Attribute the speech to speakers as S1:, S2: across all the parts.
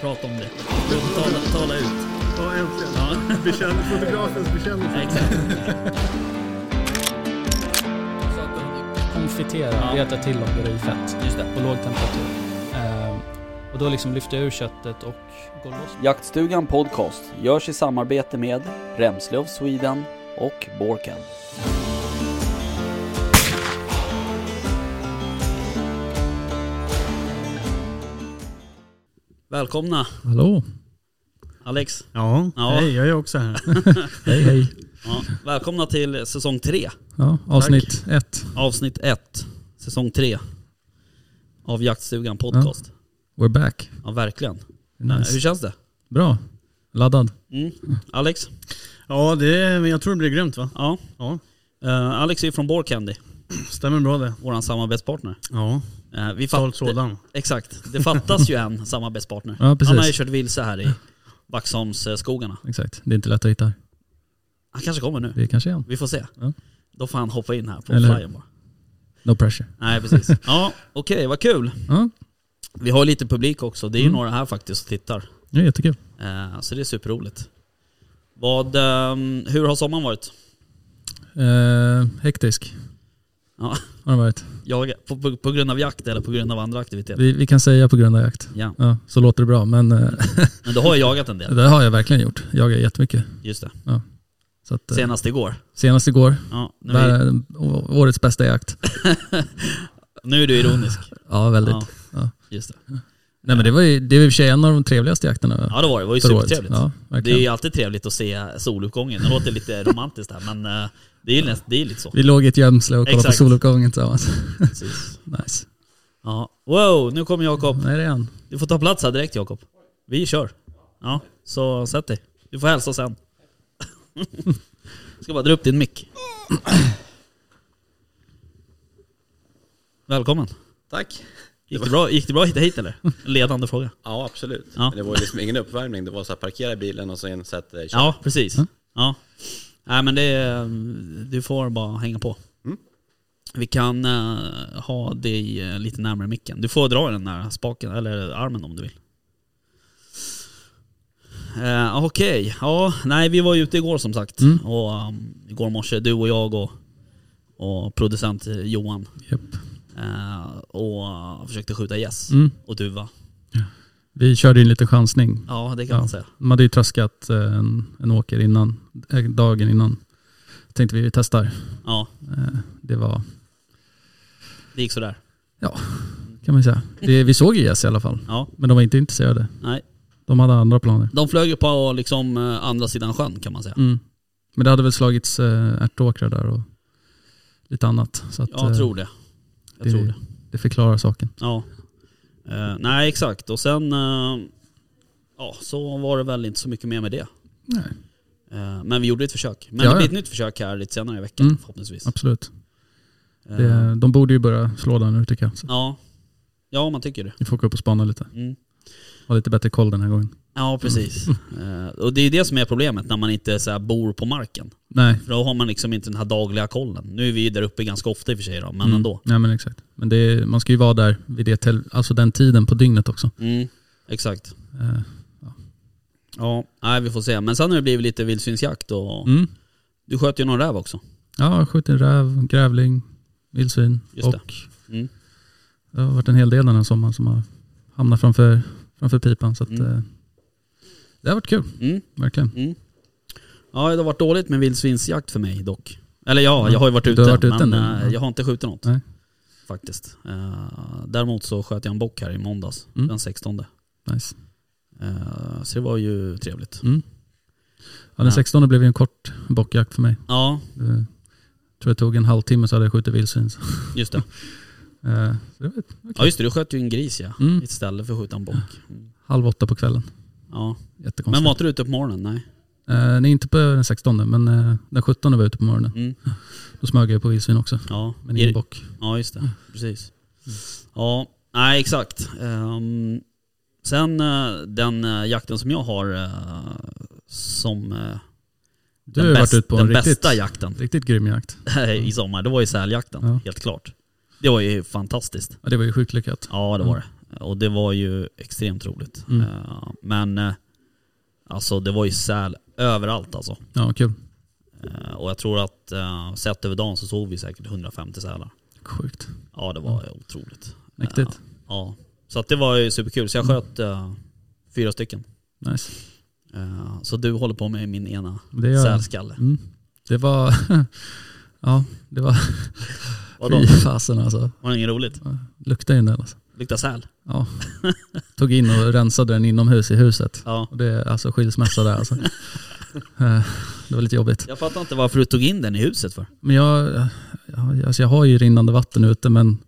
S1: prata om det. Tala, tala ut.
S2: Ja, äntligen.
S1: Ja.
S2: Bekänn, fotografens bekännelse.
S1: Exakt.
S3: Konfitera,
S1: Ja.
S3: veta till om det är i fett
S1: Just det.
S3: på låg temperatur. Ehm, och då liksom lyfter jag ur köttet och går loss.
S4: Jaktstugan Podcast görs i samarbete med Remslöv Sweden och Borken.
S1: Välkomna
S5: Hallå?
S1: Alex.
S5: Ja,
S1: Ja.
S5: hej, jag är också här. hej, hej.
S1: Ja, välkomna till säsong tre.
S5: Ja, avsnitt ett.
S1: Avsnitt ett. Säsong tre. Av Jaktstugan Podcast.
S5: We're back.
S1: Ja, verkligen.
S5: Nice.
S1: Hur känns det?
S5: Bra. Laddad.
S1: Mm. Alex?
S2: Ja, det, är- men jag tror det blir grymt va?
S1: Ja.
S2: Ja.
S1: Eh, Alex är ju från Borcandy,
S2: Stämmer bra det.
S1: våran samarbetspartner.
S2: Ja,
S1: Eh, vi fatt-
S2: såld sådan.
S1: Exakt, det fattas ju en samarbetspartner.
S5: Ja, precis.
S1: Han har ju kört vilse här i Vaxholmsskogarna.
S5: Exakt. Det är inte lätt att hitta. här.
S1: Han kanske kommer nu.
S5: Det kanske är han.
S1: Vi får se.
S5: Ja.
S1: Då får han hoppa in här på
S5: Eller hur?
S1: flyen bara.
S5: No pressure.
S1: Nej precis. Ja, okej vad kul.
S5: Ja, Mm.
S1: Vi har ju lite publik också. Det är ju några här faktiskt som tittar.
S5: det är jättekul.
S1: Eh, så det är superroligt. Vad, ehm, hur har sommaren varit?
S5: Eh, hektisk
S1: Ja,
S5: har den varit.
S1: jag, på, på, på grund av jakt eller på grund av andra aktiviteter?
S5: Vi, vi kan säga på grund av jakt.
S1: Ja,
S5: Ja, så låter det bra, men eh,
S1: men du har ju jagat en del.
S5: det har jag verkligen gjort. Jag är jättemycket.
S1: Just det.
S5: Så att, eh,
S1: Senast igår.
S5: Senast igår.
S1: Ja, nu,
S5: Där
S1: är,
S5: är å- årets bästa jakt.
S1: nu är du ironisk.
S5: Ja, väldigt.
S1: Ja,
S5: Ja.
S1: just det.
S5: Nej, men det var ju det är i och för sig en av de trevligaste jakterna
S1: Ja det var det, det var ju
S5: för året.
S1: supertrevligt.
S5: Ja,
S1: Det är
S5: verkligen.
S1: ju alltid trevligt att se soluppgången. Det låter lite romantiskt här men eh, det är ju näst, det är lite så.
S5: Vi låg i ett gömsle och kollade
S1: Exakt.
S5: på soluppgången tillsammans.
S1: Precis.
S5: Nice.
S1: Ja. Wow, nu kommer Jakob.
S5: Nej, det är han.
S1: Du får ta plats här direkt Jakob. Vi kör. Ja, så sätt dig. Du får hälsa sen. Ska bara dra upp din mick. Välkommen.
S6: Tack.
S1: Gick det bra, gick det bra att hitta hit eller? En ledande fråga.
S6: Ja, absolut.
S1: Ja.
S6: Men det var ju liksom ingen uppvärmning. Det var så här, parkera bilen och sen sätta
S5: Typ
S6: dig
S1: Ja, precis.
S5: Mm.
S1: Ja. Nej men det, är- mm, du får bara hänga på.
S5: Mm.
S1: Vi kan eh, ha dig eh, lite närmare micken. Du får dra den där spaken, eller armen om du vill. Eh, Okej, ja, nej vi var ju ute igår som sagt.
S5: Mm.
S1: Och, um, igår morse, du och jag och, och producent Johan.
S5: Japp.
S1: Eh, och eh, försökte skjuta gäss
S5: Mm.
S1: och duva.
S5: Vi körde in lite chansning.
S1: Ja det kan
S5: Ja.
S1: man säga.
S5: De hade ju tröskat eh, en, en åker innan, eh, dagen innan. Tänkte vi, vi testar.
S1: Ja,
S5: Eh, Det var,
S1: det gick sådär.
S5: kan man säga. Det, vi såg ju gäss i alla fall.
S1: Ja,
S5: Men de var inte intresserade.
S1: nej.
S5: De hade andra planer.
S1: De flög ju på liksom eh, andra sidan sjön kan man säga.
S5: Mm. Men det hade väl slagits eh, ärtåkrar där och lite annat. Så att,
S1: Jag
S5: eh,
S1: tror det. Jag tror det.
S5: det förklarar saken.
S1: Ja. Eh, nej exakt och sen eh, ja, så var det väl inte så mycket mer med det.
S5: Nej.
S1: Eh, men vi gjorde ett försök. Men
S5: Ja,
S1: det blir
S5: ja.
S1: ett nytt försök här lite senare i veckan
S5: Mm.
S1: förhoppningsvis.
S5: Absolut.
S1: Eh,
S5: Det, de borde ju börja slå där nu tycker jag. Så
S1: ja. ja, man tycker det.
S5: vi får gå upp och spana lite.
S1: Mm.
S5: Ha lite bättre koll den här gången.
S1: Ja precis.
S5: Mm.
S1: Eh, och det är det som är problemet när man inte så här, bor på marken.
S5: Nej.
S1: För då har man liksom inte den här dagliga kollen. Nu är vi ju där uppe ganska ofta i och för sig då, men
S5: Mm.
S1: ändå.
S5: Nej men exakt. Men det är, man ska ju vara där vid det, tel- alltså den tiden på dygnet också.
S1: Mm. Exakt.
S5: Eh,
S1: Ja, nej, vi får se. Men sen har det blivit lite vildsvinsjakt och
S5: Mm.
S1: du sköt ju någon räv också.
S5: Ja, skjutit räv, grävling, vildsvin
S1: Just det.
S5: och
S1: Mm.
S5: det har varit en hel del den här sommaren som har hamnat framför, framför pipan. Så att,
S1: Mm.
S5: eh, det har varit kul,
S1: Mm.
S5: verkligen.
S1: Ja, det har varit dåligt med vildsvinsjakt för mig dock. Eller ja, jag har ju varit
S5: Du
S1: ute,
S5: har varit ute
S1: men
S5: nu,
S1: eh,
S5: ja.
S1: jag har inte skjutit något.
S5: Nej.
S1: Faktiskt. Eh, däremot så sköt jag en bock här i måndags,
S5: Mm.
S1: den 16.
S5: Nice.
S1: Eh, så det var ju trevligt.
S5: Mm. Ja,
S1: Ja.
S5: den 16 blev ju en kort bockjakt för mig.
S1: Ja,
S5: Eh, tror jag tog en halvtimme så hade jag skjutit vildsvin. Så,
S1: just det.
S5: eh, så det var
S1: Ja just det, du sköt ju en gris ja.
S5: Mm.
S1: Istället för att skjuta en bock. Mm.
S5: halv åtta på kvällen.
S1: Ja. Men
S5: Jättekonstigt.
S1: var inte du ute på morgonen? Nej.
S5: Eh, nej, inte på den 16 men eh, den 17 var jag ute på morgonen.
S1: Mm.
S5: Då smög jag på vildsvin också.
S1: Ja.
S5: Men
S1: Är-
S5: ingen bock.
S1: Ja, just
S5: Mm.
S1: det. Precis. Ja, nej exakt. Ehm, sen eh, den eh, jakten som jag har eh, som eh,
S5: Du
S1: den,
S5: har ju
S1: bäst-
S5: varit ute på en
S1: den
S5: riktigt,
S1: bästa jakten
S5: riktigt grym jakt.
S1: i sommar, det var ju säljakten.
S5: Ja.
S1: Helt klart. Det var ju fantastiskt.
S5: Ja, det var ju sjukt lyckat.
S1: Ja, det var det. Och det var ju extremt roligt.
S5: Mm.
S1: Eh, Men eh, alltså det var ju säl överallt alltså.
S5: Ja, kul.
S1: Eh, Och jag tror att eh, sett över dagen så såg vi säkert 150 sälar.
S5: Sjukt. Mm.
S1: Ja det var otroligt. Eh,
S5: Mäktigt. Mm.
S1: Ja. Så att det var ju superkul. Så jag sköt eh, fyra stycken.
S5: Nice.
S1: Eh, så du håller på med min ena
S5: Det gör jag.
S1: sälskalle.
S5: Mm. Det var... ja, det var...
S1: Vadå?
S5: Fy fasen alltså.
S1: Var det inget roligt?
S5: Luktar ju en del alltså.
S1: Luktar säl?
S5: Ja. Tog in och rensade den inomhus i huset.
S1: Ja.
S5: Och det är alltså skilsmässa där alltså. Eh, det var lite jobbigt.
S1: Jag fattar inte varför du tog in den i huset för.
S5: Men jag, jag, alltså jag har ju rinnande vatten ute men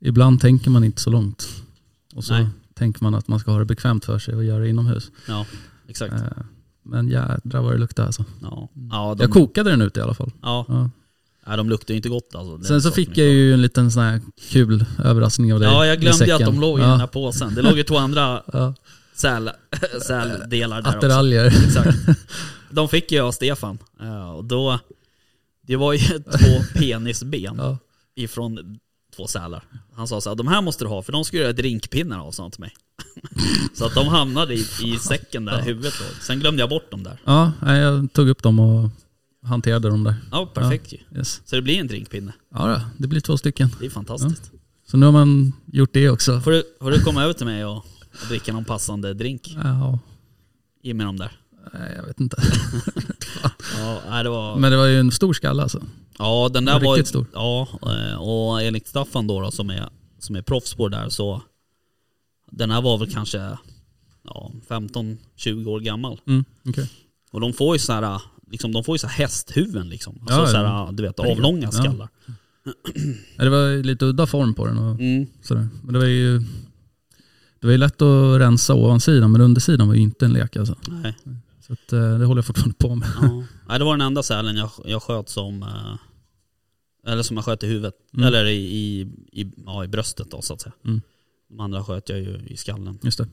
S5: ibland tänker man inte så långt. Och så
S1: Nej.
S5: tänker man att man ska ha det bekvämt för sig och göra det inomhus.
S1: Ja, exakt.
S5: Eh, Men jädrar vad det luktade alltså.
S1: Ja. Ja, de,
S5: Jag kokade den ute i alla fall.
S1: ja.
S5: Ja.
S1: Nej, de luktar ju inte gott alltså. Det är
S5: Sen så
S1: en sak
S5: fick
S1: som
S5: jag
S1: inte-
S5: ju en liten sån här kul överraskning av dig
S1: Ja, jag
S5: i
S1: glömde ju att
S5: säcken.
S1: de låg i
S5: Ja,
S1: den här påsen. Det låg ju två andra
S5: ja.
S1: säl, säldelar där också.
S5: Attiraljer.
S1: Exakt. De fick ju jag av Stefan. Eh, Och då, det var ju två penisben.
S5: Ja.
S1: ifrån två sälar. Han sa så här, de här måste du ha för de skulle göra drinkpinnar av, sa han till mig. så att de hamnade i, i säcken där, huvudet låg. Sen glömde jag bort dem där.
S5: ja, nej, jag tog upp dem och hanterade dem där.
S1: Ja, perfekt ju.
S5: Yes.
S1: Så det blir en drinkpinne.
S5: Ja, då, det blir två stycken.
S1: Det är fantastiskt.
S5: Så nu har man gjort det också.
S1: Får, du, får du komma över till mig och, och dricka någon passande drink
S5: Ja,
S1: i med dem där?
S5: nej, jag vet inte.
S1: Ja, nej, det var,
S5: Men det var ju en stor skalle alltså.
S1: ja den där
S5: Riktigt
S1: var...
S5: stor.
S1: Ja, eh, och enligt Staffan då, då som, är, som är proffs på det där så den här var väl kanske ja, 15-20 år gammal.
S5: Mm,
S1: Och de får ju så här, liksom, de får ju så här hästhuvuden liksom. Alltså
S5: Ja, ja.
S1: så här, du vet, avlånga skallar.
S5: Det var ju lite udda form på den och
S1: Mm.
S5: sådär. Men det var ju det var ju lätt att rensa ovansidan men undersidan var ju inte en lek alltså.
S1: Nej.
S5: Så att, eh, det håller jag fortfarande på med.
S1: Ja. Nej, det var den enda sälen jag, jag sköt som, eh, eller som jag sköt i huvudet,
S5: Mm.
S1: eller i, i, i, ja, i bröstet då så att säga.
S5: Mm.
S1: De andra sköt jag ju i skallen.
S5: Just det.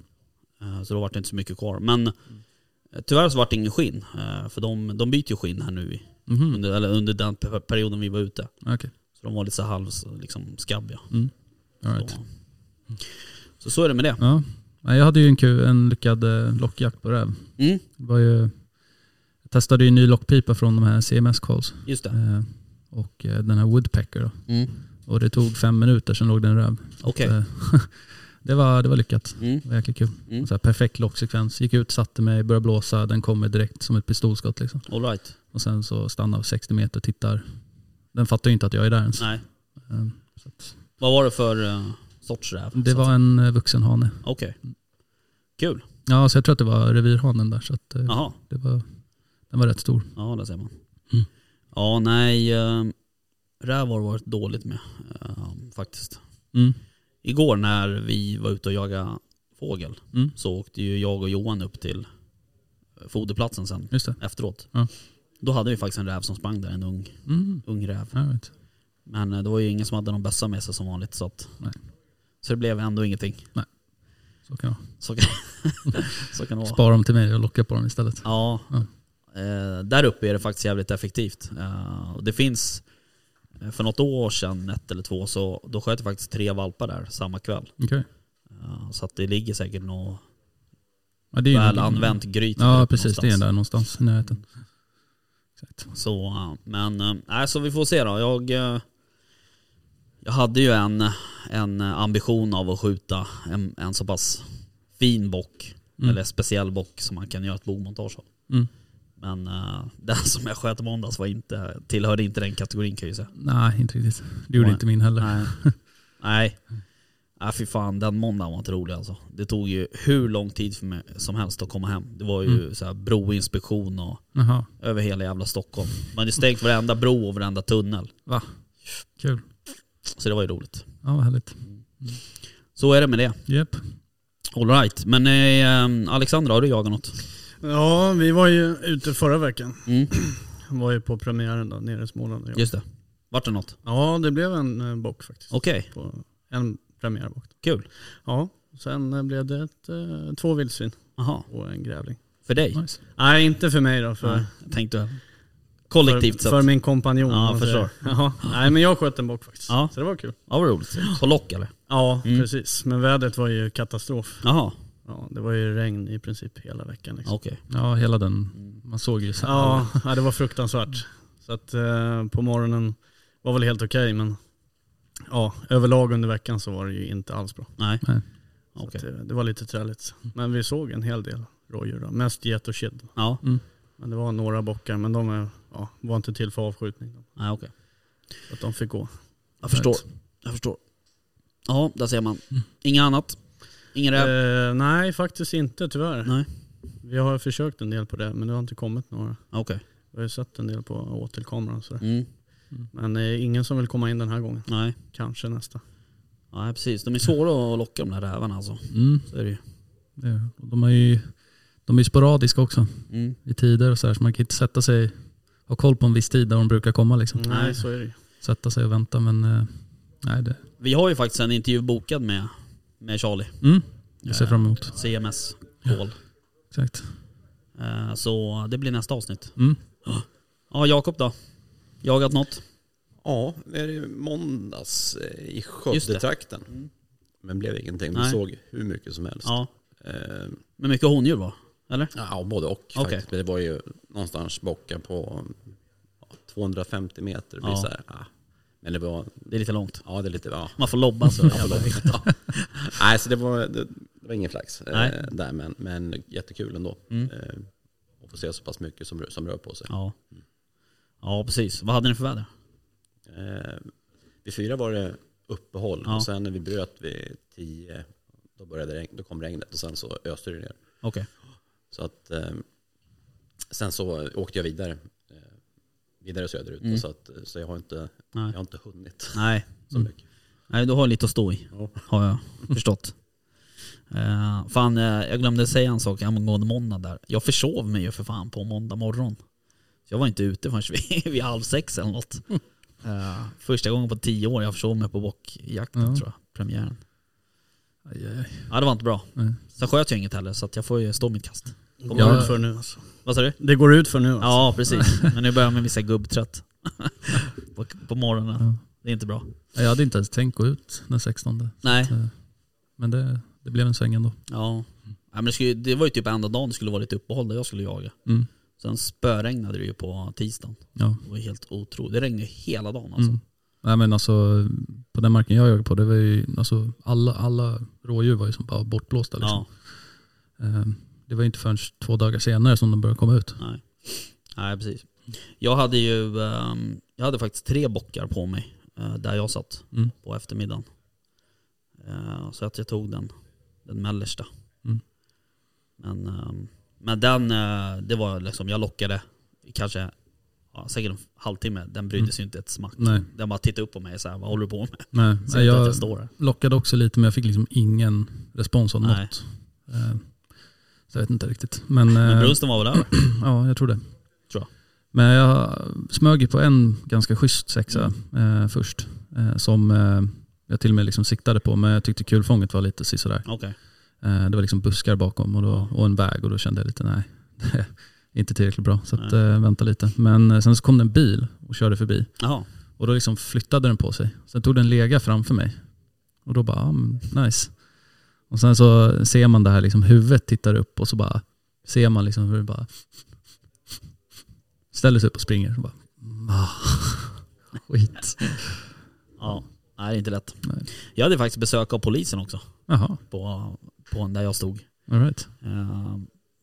S1: Eh, Så då var det inte så mycket kvar. Men eh, tyvärr så var det ingen skinn. eh, För de, de byter ju skinn här nu, i,
S5: Mhm.
S1: under, eller under den pe- perioden vi var ute.
S5: Okej. Mm.
S1: Så de var lite så här halv, liksom skabbiga.
S5: All right.
S1: Så. så så är det med det.
S5: Ja. Nej, Jag hade ju en, kul, en lyckad eh, lockjakt på räv.
S1: Mm,
S5: Det var ju, jag testade ju en ny lockpipa från de här CMS calls.
S1: just det.
S5: Eh, och eh, den här Woodpecker då.
S1: Mm.
S5: Och det tog fem minuter, sen låg den räv.
S1: Okej.
S5: Eh, det, var, det var lyckat.
S1: Mm.
S5: Det var jäkla kul.
S1: Mm.
S5: Så här, perfekt locksekvens. Gick ut, satte mig, började blåsa. Den kommer direkt som ett pistolskott. Liksom.
S1: All right.
S5: Och sen så stannar jag 60 meter och tittar. Den fattar ju inte att jag är där ens.
S1: Nej.
S5: Ehm, så att,
S1: Vad var det för eh, sorts räv?
S5: det
S1: så att
S5: var
S1: säga?
S5: en eh, vuxen hane.
S1: Okej. Kul.
S5: Ja, så jag tror att det var revirhanen där. Så att, eh,
S1: Jaha.
S5: det var, den var rätt stor.
S1: Ja, där ser man.
S5: Mm.
S1: Ja, nej. eh, räv har varit dåligt med eh, faktiskt.
S5: Mm.
S1: Igår när vi var ute och jagade fågel
S5: Mm.
S1: så åkte ju jag och Johan upp till eh, foderplatsen sen
S5: Just det.
S1: efteråt.
S5: Ja.
S1: Då hade vi faktiskt en räv som sprang där, en ung,
S5: Mm.
S1: ung räv.
S5: Jag vet.
S1: Men eh, det var ju ingen som hade någon bössa med sig som vanligt så att,
S5: Nej.
S1: Så det blev ändå ingenting.
S5: Så kan det vara.
S1: Så kan, så kan det vara.
S5: Spara dem till mig och locka på dem istället.
S1: Ja.
S5: Ja.
S1: Eh, där uppe är det faktiskt jävligt effektivt. Eh, och det finns, eh, för något år sedan, ett eller två, så då sköt jag faktiskt tre valpar där samma kväll.
S5: Okej.
S1: Eh, så att det ligger säkert något
S5: Ja, det är ju
S1: väl
S5: någon-
S1: använt gryt där
S5: Ja,
S1: uppe
S5: precis. Det är
S1: någonstans.
S5: där någonstans i närheten. Exakt.
S1: Så, ja. men eh, äh, så vi får se då. Jag, eh, jag hade ju en, en ambition av att skjuta en, en så pass fin bock,
S5: Mm.
S1: eller speciell bock som man kan göra ett bogmontage av.
S5: Mm.
S1: Men eh, den som jag sköt i måndags var inte, tillhörde inte den kategorin kan jag ju säga.
S5: Nej, inte riktigt. Det gjorde
S1: Nej.
S5: inte min heller.
S1: Nej. Nej. Nej fy fan, den måndagen var inte rolig alltså. Det tog ju hur lång tid för mig som helst att komma hem. Det var ju så här broinspektion och
S5: Mm. Jaha.
S1: över hela jävla Stockholm. Man hade stängt varenda bro och varenda tunnel.
S5: Va? Kul.
S1: Så det var ju roligt.
S5: Ja, vad härligt.
S1: Så är det med det.
S5: Japp.
S1: Alright, men eh, eh, Alexandra har du jagat något?
S2: Ja, vi var ju ute förra veckan.
S1: Mm.
S2: Var ju på premiären då, nere i Småland.
S1: Just det. Vart det något?
S2: Ja, det blev en eh, bock faktiskt.
S1: Okej,
S2: På en premiärbock.
S1: kul.
S2: Ja, sen eh, blev det ett, eh, två vildsvin
S1: Jaha,
S2: och en grävling.
S1: för dig?
S5: Nice.
S2: Nej, inte för mig då. För
S1: Nej, jag tänkte Kollektivt
S2: för,
S1: sett.
S2: för min kompanjon.
S1: Ja,
S2: om man säger. Ja, nej men jag sköt en bock faktiskt.
S1: Ja.
S2: Så det var kul.
S1: Ja vad roligt. På lock eller?
S2: Ja,
S1: Mm.
S2: precis. Men vädret var ju katastrof.
S1: Jaha,
S2: Ja, det var ju regn i princip hela veckan. Liksom.
S1: okej.
S5: Ja, hela den. Man såg ju så här.
S2: Ja, ja, det var fruktansvärt. Så att eh, på morgonen var väl helt okej men ja, överlag under veckan så var det ju inte alls bra.
S1: Nej.
S5: Nej.
S2: Så
S1: Okej.
S2: att, eh, det var lite träligt. Men vi såg en hel del rådjur då. Mest get och kid.
S1: Ja,
S2: Men det var några bockar men de är, ja, var inte till för avskjutning. Då.
S1: nej okej.
S2: Så att de fick gå.
S1: Jag förstår. Jag förstår. Ja, där ser man. Inget annat? Ingen räv?
S2: Eh, nej faktiskt inte tyvärr.
S1: Nej.
S2: Vi har försökt en del på det men det har inte kommit några.
S1: Ja, Ah, Okej.
S2: Vi har ju sett en del på åtelkameran. Så.
S1: Mm.
S2: Men eh, ingen som vill komma in den här gången.
S1: Nej.
S2: Kanske nästa.
S1: Nej precis. De är svåra att locka de där rävarna alltså.
S5: Mm,
S1: Så är det ju.
S5: det är det. Och de är ju de är ju sporadiska också
S1: Mm.
S5: i tider och så här. Så man kan inte sätta sig, ha koll på en viss tid där de brukar komma liksom.
S2: Nej så är det ju.
S5: Sätta sig och vänta men eh, nej det.
S1: Vi har ju faktiskt en intervju bokad med, med Charlie. Eh,
S5: Mm, jag ser fram emot.
S1: CMS Hall.
S5: Exakt.
S1: Eh, Så det blir nästa avsnitt.
S5: Mm.
S1: Ja, Jakob då? Jagat något?
S6: Ja, det är ju måndags eh, i
S1: Just det. Mm.
S6: Skövdetrakten. Men blev ingenting. Vi
S1: Nej.
S6: såg hur mycket som helst.
S1: Ja.
S6: Eh,
S1: Men mycket hondjur va? Eller?
S6: Ja, både och
S1: Okej.
S6: faktiskt. Det var ju någonstans bocka på ja, 250 meter. Det blir
S1: Ja.
S6: så här, ah. Men det var,
S1: Det är lite långt.
S6: ja det är lite, ja.
S1: Man får lobba så.
S6: Ja, förlåt. Ja. Nej, så det var, det, det var ingen flax eh,
S1: Nej.
S6: där, men, men jättekul ändå.
S1: Mm.
S6: Eh, att få se så pass mycket som, som rör på sig. Mm.
S1: Ja. Ja precis. Vad hade ni för väder?
S6: Eh, vid fyra var det uppehåll
S1: Ja.
S6: och sen när vi bröt vid tio, då, började regn, då kom regnet och sen så öste det ner.
S1: Okej.
S6: Så att, eh, sen så åkte jag vidare. Eh, vidare söderut.
S1: Mm.
S6: Så, att, så jag, har inte,
S1: Nej.
S6: jag har inte hunnit
S1: Nej.
S6: så
S5: Mm.
S6: mycket.
S1: Nej, du har lite att stå i.
S6: Ja.
S1: Har jag förstått. Eh, fan, eh, jag glömde säga en sak angående måndag där. Jag försov mig ju för fan på måndag morgon. Så jag var inte ute förrän vid, vid halv sex eller något. Eh, första gången på tio år jag försov mig på bockjakten
S5: Ja.
S1: tror jag. Premiären.
S5: Aj, aj, aj.
S1: Ja det var inte bra.
S5: Nej.
S1: Sen sköt jag inget heller så att jag får ju stå mitt kast.
S2: Det går
S5: Ja.
S2: ut för nu alltså.
S1: Vad sa du?
S2: Det går ut för nu alltså.
S1: Ja precis. Men nu börjar man bli så här gubbtrött. på, på morgonen.
S5: Ja.
S1: Det är inte bra.
S5: Nej, Jag hade inte ens tänkt gå ut den 16.
S1: Nej.
S5: Eh, Men det, det blev en sväng ändå.
S1: Ja. ja men det, skulle, ju- det var ju typ enda dagen det skulle vara lite uppehåll där jag skulle jaga.
S5: Mm.
S1: Sen spöregnade det ju på tisdagen.
S5: Ja.
S1: Det var ju helt otroligt. Det regnade ju hela dagen alltså.
S5: Mm. Nej men alltså på den marken jag jagade på, det var ju, alltså, alla, alla rådjur var ju som bara bortblåsta. Liksom.
S1: Ja,
S5: Eh, Det var ju inte förrän två dagar senare som de började komma ut.
S1: nej. Nej, precis. Jag hade ju ehm, jag hade faktiskt tre bockar på mig eh, där jag satt
S5: Mm.
S1: på eftermiddagen. Eh, Så att jag tog den, den mellersta.
S5: Mm.
S1: Men, ehm, men den, eh, det var liksom, jag lockade i kanske ja, säkert en halvtimme. Den brydde
S5: Mm.
S1: sig inte ett smack.
S5: Nej,
S1: Den bara tittade upp på mig och sa vad håller du på med?
S5: nej.
S1: Ser
S5: nej
S1: inte att
S5: jag
S1: jag står här.
S5: lockade också lite men jag fick liksom ingen respons av
S1: Nej.
S5: något. Eh, Så jag vet inte riktigt. Men,
S1: Men
S5: eh,
S1: brunsten var väl där?
S5: Ja, jag tror det.
S1: Tror jag.
S5: Men jag smög ju på en ganska schysst sexa eh, först. Eh, som eh, jag till och med liksom siktade på. Men jag tyckte kulfånget var lite sådär.
S1: Okej.
S5: Eh, det var liksom buskar bakom och, då, och en väg. Och då kände jag lite nej, det är inte tillräckligt bra. Så att, eh, vänta lite. Men eh, sen så kom det en bil och körde förbi.
S1: Jaha.
S5: Och då liksom flyttade den på sig. Sen tog den lega framför mig. Och då bara, ja, men nice. Och sen så ser man det här liksom, huvudet tittar upp och så bara ser man liksom hur det bara ställer sig upp och springer. Och bara, ah, skit.
S1: Ja. Nej, det är inte lätt.
S5: Nej.
S1: Jag hade faktiskt besök av polisen också.
S5: Jaha,
S1: på, på den där jag stod.
S5: all right.
S1: Eh,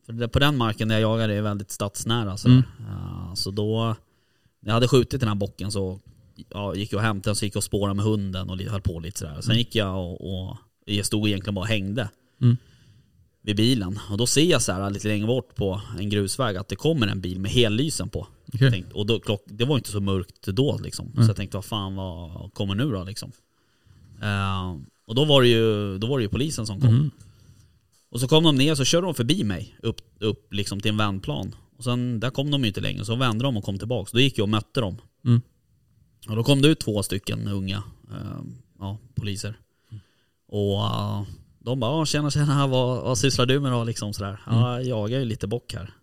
S1: för det- på den marken där jag jagade är väldigt stadsnära. sådär. Eh, så då, när jag hade skjutit den här bocken så ja, gick jag och hämtade den, så gick jag och spårade med hunden och li- höll på lite sådär. Sen gick jag och, och jag stod egentligen bara och hängde
S5: Mm.
S1: vid bilen. Och då ser jag så här lite längre bort på en grusväg att det kommer en bil med hellysen på.
S5: Okej.
S1: Tänkt, och då, klock, det var inte så mörkt då liksom. Så jag tänkte vad fan vad kommer nu då liksom. Eh, och då var, det ju, då var det ju polisen som kom. Och så kom de ner så körde de förbi mig upp, upp liksom till en vändplan. Och sen där kom de ju inte längre så vände de och kom tillbaka. Så då gick jag och mötte dem.
S5: Mm.
S1: Och då kom det ut två stycken unga eh, ja, poliser. Och eh, de
S5: Mm.
S1: bara "Ja, “tjena tjena, vad, vad sysslar du med då?” liksom sådär. “Ja, jag jagar ju lite bock här”.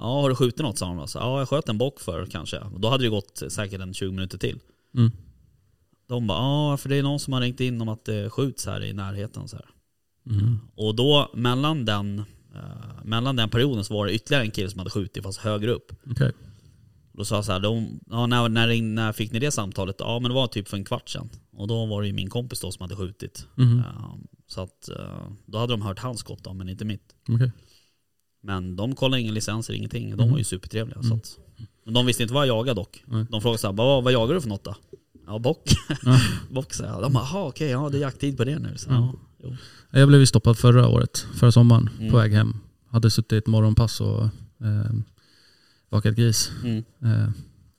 S1: Ja, har du skjutit något? sa han. då. Så, ja, jag sköt en bock för kanske. Och då hade det gått säkert en 20 minuter till.
S5: Mm.
S1: De bara, ja för det är någon som har ringt in om att det skjuts här i närheten. Så här.
S5: Mm.
S1: Och då mellan den, eh, mellan den perioden så var det ytterligare en kille som hade skjutit fast högre upp.
S5: Okej.
S1: Då sa jag så här, de, ja, när, när, ring- när fick ni det samtalet? Ja men det var typ för en kvart sedan. Och då var det ju min kompis då som hade skjutit.
S5: Mhm.
S1: Ehm, så att eh, då hade de hört hans skott då, men inte mitt.
S5: Okej.
S1: Men de kollade ingen licenser, ingenting. De
S5: Mhm.
S1: var ju supertrevliga. Så
S5: Mm.
S1: att, men de visste inte vad jag jagade dock.
S5: Nej.
S1: De frågade såhär, vad, vad jagar du för något då? Ja, bock.
S5: Ja.
S1: bock sa jag. De bara, "Jaha, okej, ja, det är jakttid på det nu. Så,
S5: Ja.
S1: ja. jo.
S5: Jag blev ju stoppad förra året, förra sommaren,
S1: Mm.
S5: på väg hem. Hade suttit i ett morgonpass och eh, vakat gris.
S1: Mm.
S5: Eh,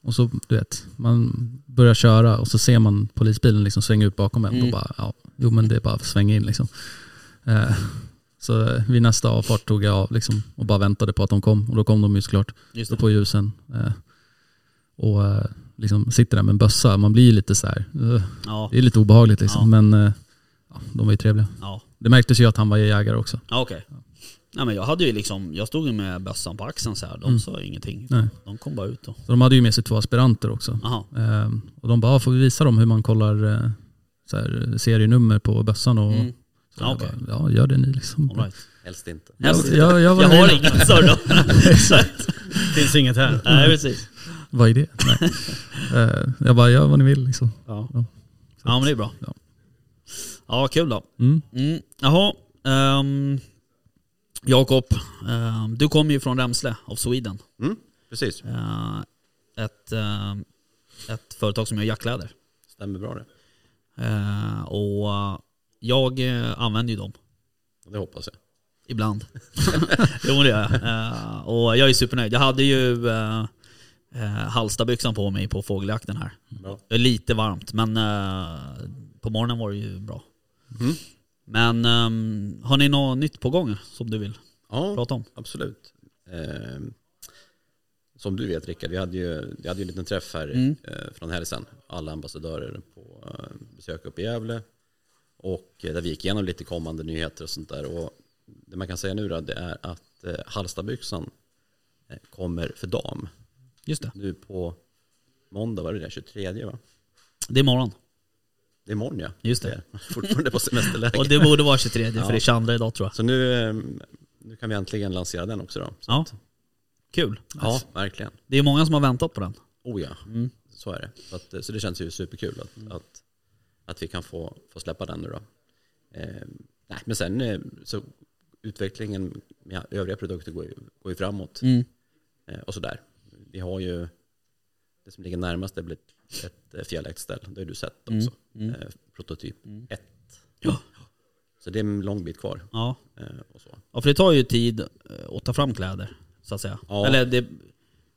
S5: och så, du vet, man börjar köra och så ser man polisbilen liksom svänga ut bakom en.
S1: Mm.
S5: Och bara, ja, jo men det är bara att svänga in liksom. Eh, så eh, vid nästa avfart tog jag av liksom, och bara väntade på att de kom. Och då kom de ju såklart.
S1: Just
S5: Slå
S1: det.
S5: på ljusen. Eh, och eh, liksom sitter där med en bössa. Man blir ju lite så här. eh,
S1: Ja,
S5: det är lite obehagligt liksom.
S1: Ja.
S5: Men eh, ja, de var ju trevliga.
S1: ja.
S5: Det märktes ju att han var jägare också.
S1: ja okej. Nej men jag hade ju liksom, jag stod ju med bössan på axeln så här. De
S5: Mm.
S1: sa ingenting.
S5: Nej.
S1: De kom bara ut då.
S5: Så de hade ju med sig två aspiranter också.
S1: Aha.
S5: Eh, och de bara, ah, får vi visa dem hur man kollar eh, så här, serienummer på bössan? Och,
S1: Mm.
S5: så jag
S1: Ja, okej.
S5: bara, ja, gör det ni liksom.
S1: All right.
S6: Helst inte.
S5: Jag,
S1: Jag,
S5: jag, jag var
S1: jag har
S5: nöjd.
S1: inget så då. Så att-
S2: Finns inget här.
S1: Nej precis.
S5: Vad är det? Nej. Eh, jag bara, gör vad ni vill liksom.
S1: Ja.
S5: Ja.
S1: ja men det är bra.
S5: Ja.
S1: Ja kul då.
S5: Mm.
S1: Mm. Jaha. ehm, Jakob, ehm, du kommer ju från Remsle of Sweden.
S6: Mm, Precis,
S1: Eh, ett, eh, ett företag som gör jackkläder.
S6: stämmer bra det.
S1: Eh, och eh, jag eh, använder ju dem
S6: Det hoppas jag.
S1: ibland. jo men det gör jag. Eh, och jag är supernöjd. Jag hade ju eh, eh, Halstabyxan på mig på fågeljakten här.
S6: Bra.
S1: Det är lite varmt men eh, på morgonen var det ju bra.
S6: Mm.
S1: Men ehm, har ni något nytt på gång som du vill
S6: Ja,
S1: prata om?
S6: Absolut. Eh, som du vet Rickard, vi hade ju, vi hade ju en liten träff här
S1: Mm.
S6: eh, från helgen. sedan. Alla ambassadörer på eh, besök uppe i Gävle. Och eh, där vi gick igenom lite kommande nyheter och sånt där. Och det man kan säga nu då, det är att eh, Halstabyxan eh, kommer för dam.
S1: Just det.
S6: Nu på måndag, var det det? 23 va?
S1: Det är imorgon.
S6: Det är imorgon ja.
S1: Just det.
S6: Fortfarande på semesterläge.
S1: Och det borde vara 23 för
S6: Ja.
S1: det är 22 idag tror jag.
S6: Så nu, eh, nu kan vi äntligen lansera den också då. Så
S1: Ja.
S6: att-
S1: Kul.
S6: ja, verkligen.
S1: Det är många som har väntat på den.
S6: Oh ja,
S1: Mm.
S6: så är det. Så, att, så det känns ju superkul att, att, att vi kan få, få släppa den nu då. Eh, nej, men sen eh, så utvecklingen med övriga produkter går ju, går ju framåt
S1: Mm.
S6: eh, och sådär. Vi har ju, det som ligger närmast är väl ett- ett eh, fjälläktsställ, det har du sett också.
S1: Mm. Mm.
S6: Eh, prototyp 1.
S1: Mm.
S6: Ja. Så det är en lång bit kvar.
S1: Ja.
S6: Eh, och så.
S1: ja, för det tar ju tid eh, att ta fram kläder så att säga.
S6: Ja.
S1: Eller det,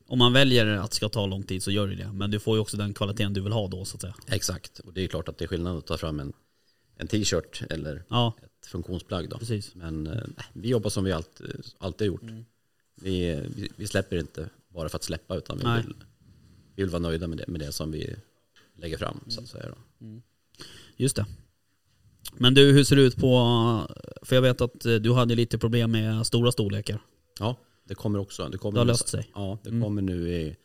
S1: om man väljer att det ska ta lång tid så gör det det. Men du får ju också den kvaliteten du vill ha då så att säga.
S6: Exakt, och det är klart att det är skillnad att ta fram en, en t-shirt eller
S1: Ja,
S6: ett funktionsplagg då.
S1: precis. Mm.
S6: Men eh, nej, vi jobbar som vi alltid, alltid har gjort. Vi, eh, vi, vi släpper inte bara för att släppa utan vi,
S1: Nej.
S6: vill, vi vill vara nöjda med det, med det som vi lägger fram. Så
S1: Mm.
S6: att säga då.
S1: Just det. Men du, hur ser det ut på... För jag vet att eh, du hade lite problem med stora storlekar.
S6: Ja, det kommer också. Det, kommer
S1: Det har
S6: nu-
S1: löst sig.
S6: Ja, det
S1: Mm.
S6: kommer nu i,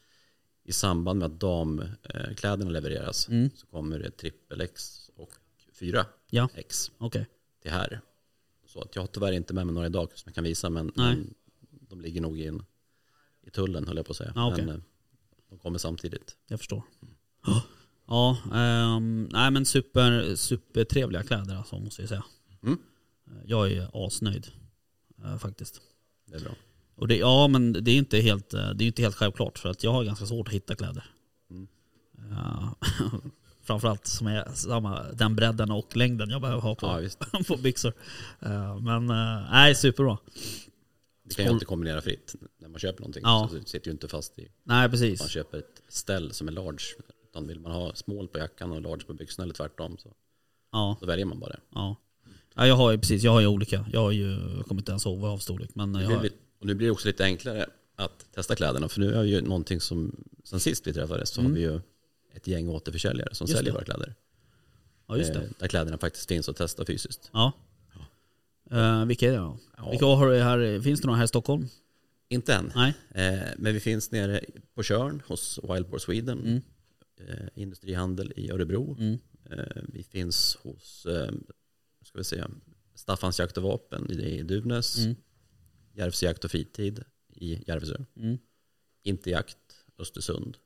S6: i samband med att damkläderna levereras
S1: Mm.
S6: så kommer det trippel X och 4
S1: Ja.
S6: X
S1: Okej.
S6: till här. Så att jag har tyvärr inte med mig några idag som jag kan visa men,
S1: Nej.
S6: men de ligger nog in, i tullen höll jag på att säga.
S1: Ja, okej.
S6: Men eh, de kommer samtidigt.
S1: Jag förstår. Ja, ehm, nej men super, supertrevliga kläder alltså måste jag säga.
S6: Mm.
S1: Jag är asnöjd eh, faktiskt.
S6: Det är bra.
S1: Och det, ja men det är inte helt, eh, det är inte helt självklart för att jag har ganska svårt att hitta kläder.
S6: Mm.
S1: Eh, framförallt som är samma, den bredden och längden jag behöver ha på,
S6: Ja, visst.
S1: på byxor. Eh, men eh, nej, superbra.
S6: Det kan ju alltid kombinera fritt när man köper någonting.
S1: Ja.
S6: Så du sitter ju inte fast i att
S1: Nej
S6: man
S1: precis.
S6: köper ett ställ som är large. Utan vill man ha small på jackan och large på byxorna eller tvärtom så
S1: Ja.
S6: då väljer man bara det.
S1: Ja. ja jag har ju precis, jag har ju olika. Jag har ju, jag kommer inte ens ihåg vad jag har för storlek. Men eh, jag
S6: Nu
S1: har,
S6: blir, det- och nu blir det också lite enklare att testa kläderna för nu är ju någonting som, sen sist vi träffades så
S1: Mm.
S6: har vi ju ett gäng återförsäljare som
S1: Just
S6: säljer
S1: det.
S6: våra kläder.
S1: ja just
S6: Eh,
S1: det.
S6: Där kläderna faktiskt finns att testa fysiskt.
S1: Ja. Eh, vilka är det då?
S6: Ja.
S1: Vilka har du här? Finns det några här i Stockholm?
S6: Inte än.
S1: Nej.
S6: Eh, men vi finns nere på Körn hos Wild Boar Sweden,
S1: Mm.
S6: eh, industrihandel i Örebro.
S1: Mm.
S6: Eh, vi finns hos eh, ska vi säga, Staffans jakt och vapen i Duvnäs,
S1: Mm.
S6: Järvsö jakt och fritid i Järvsö,
S1: Mm.
S6: Inte jakt Östersund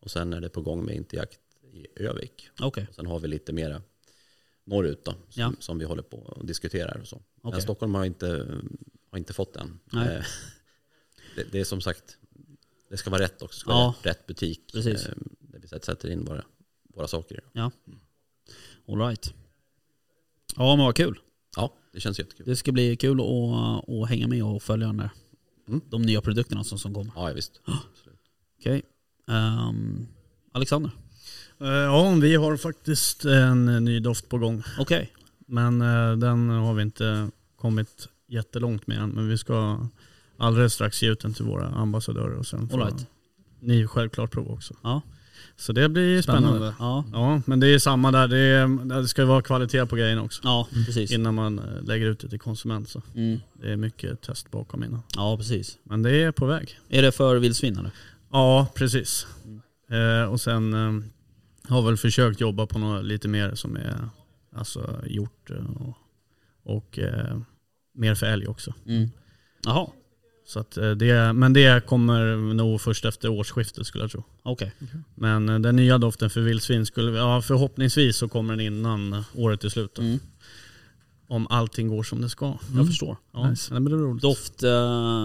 S6: och sen är det på gång med Inte jakt i Övik.
S1: Okej.
S6: Och sen har vi lite mera norrut då, som,
S1: Ja.
S6: som vi håller på och diskuterar och så.
S1: Okej.
S6: Men Stockholm har inte, har inte fått den.
S1: Nej.
S6: Eh, Det, det är som sagt, det ska vara rätt också. Det ska
S1: Ja.
S6: vara rätt, rätt butik.
S1: Precis.
S6: eh, Där vi sätter- sätter in våra, våra saker.
S1: All right. Ja men vad kul.
S6: Ja, det känns jättekul.
S1: Det ska bli kul att, att hänga med och följa den där.
S6: Mm.
S1: De nya produkterna som, som kommer.
S6: Ja, ja, visst. Absolut.
S1: Okej. Ehm, Alexander.
S2: Eh, Ja, vi har faktiskt en eh, ny doft på gång.
S1: Okej.
S2: Men eh, den har vi inte kommit jättelångt med än. Men vi ska alldeles strax ge ut den till våra ambassadörer. Och sen får
S1: All right.
S2: ni självklart prova också.
S1: Ja.
S2: Så det blir spännande.
S5: Spännande.
S1: Ja.
S2: Ja, men det är samma där. Det, är, det ska ju vara kvalitet på grejen också.
S1: ja, precis.
S2: Innan man eh, lägger ut det till konsument. Så
S1: Mm.
S2: det är mycket test bakom innan.
S1: Ja precis.
S2: Men det är på väg.
S1: Är det för vildsvin eller?
S2: Ja, precis. Eh, och sen eh, har väl försökt jobba på något lite mer som är alltså, gjort eh, och, och eh, mer för älg också.
S1: Mm. Jaha,
S2: Så att, eh, det, men det kommer nog först efter årsskiftet skulle jag tro.
S1: okej.
S2: Men eh, den nya doften för vildsvin skulle, vi- ja, förhoppningsvis så kommer den innan eh, året är slut. då.
S1: Mm.
S2: Om allting går som det ska.
S1: Jag förstår.
S2: Ja,
S5: Nice.
S2: Mm. nej, men det blir roligt.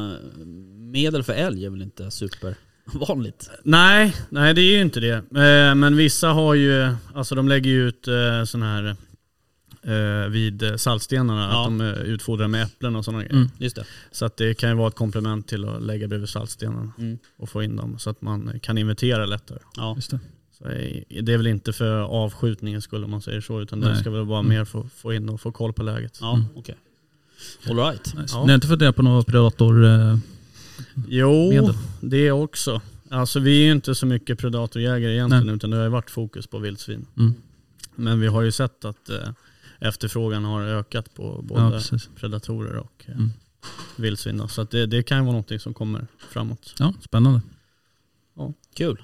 S1: Doftmedel för älg är väl inte supervanligt?
S2: Nej, nej det är ju inte det. Eh, Men vissa har ju, alltså de lägger ju ut eh, sån här eh, vid eh, saltstenarna,
S1: Ja.
S2: att de eh, utfodrar med äpplen och sådana grejer.
S5: Mm.
S1: Just det.
S2: Så att det kan ju vara ett komplement till att lägga bredvid saltstenarna
S1: Mm.
S2: och få in dem så att man kan inventera lättare.
S1: Ja.
S5: Just det.
S2: Så eh, det är väl inte för avskjutningen skulle man säger så, utan det
S5: Nej.
S2: ska väl vara mer för att få in och få koll på läget.
S1: Mm.
S2: Mm.
S1: Ja, okej. All right.
S5: Nice.
S2: Ja.
S5: Ni har inte funderat på några eh, predatormedel?
S2: Jo, det också. Alltså vi är ju inte så mycket predatorjägare egentligen, utan det har ju varit fokus på vildsvin.
S5: Mm.
S2: Men vi har ju sett att eh, efterfrågan har ökat på både
S5: Ja, precis.
S2: predatorer och eh,
S5: Mm.
S2: vildsvin. då. Så att det, det kan ju vara någonting som kommer framåt.
S5: Ja, spännande.
S1: Kul.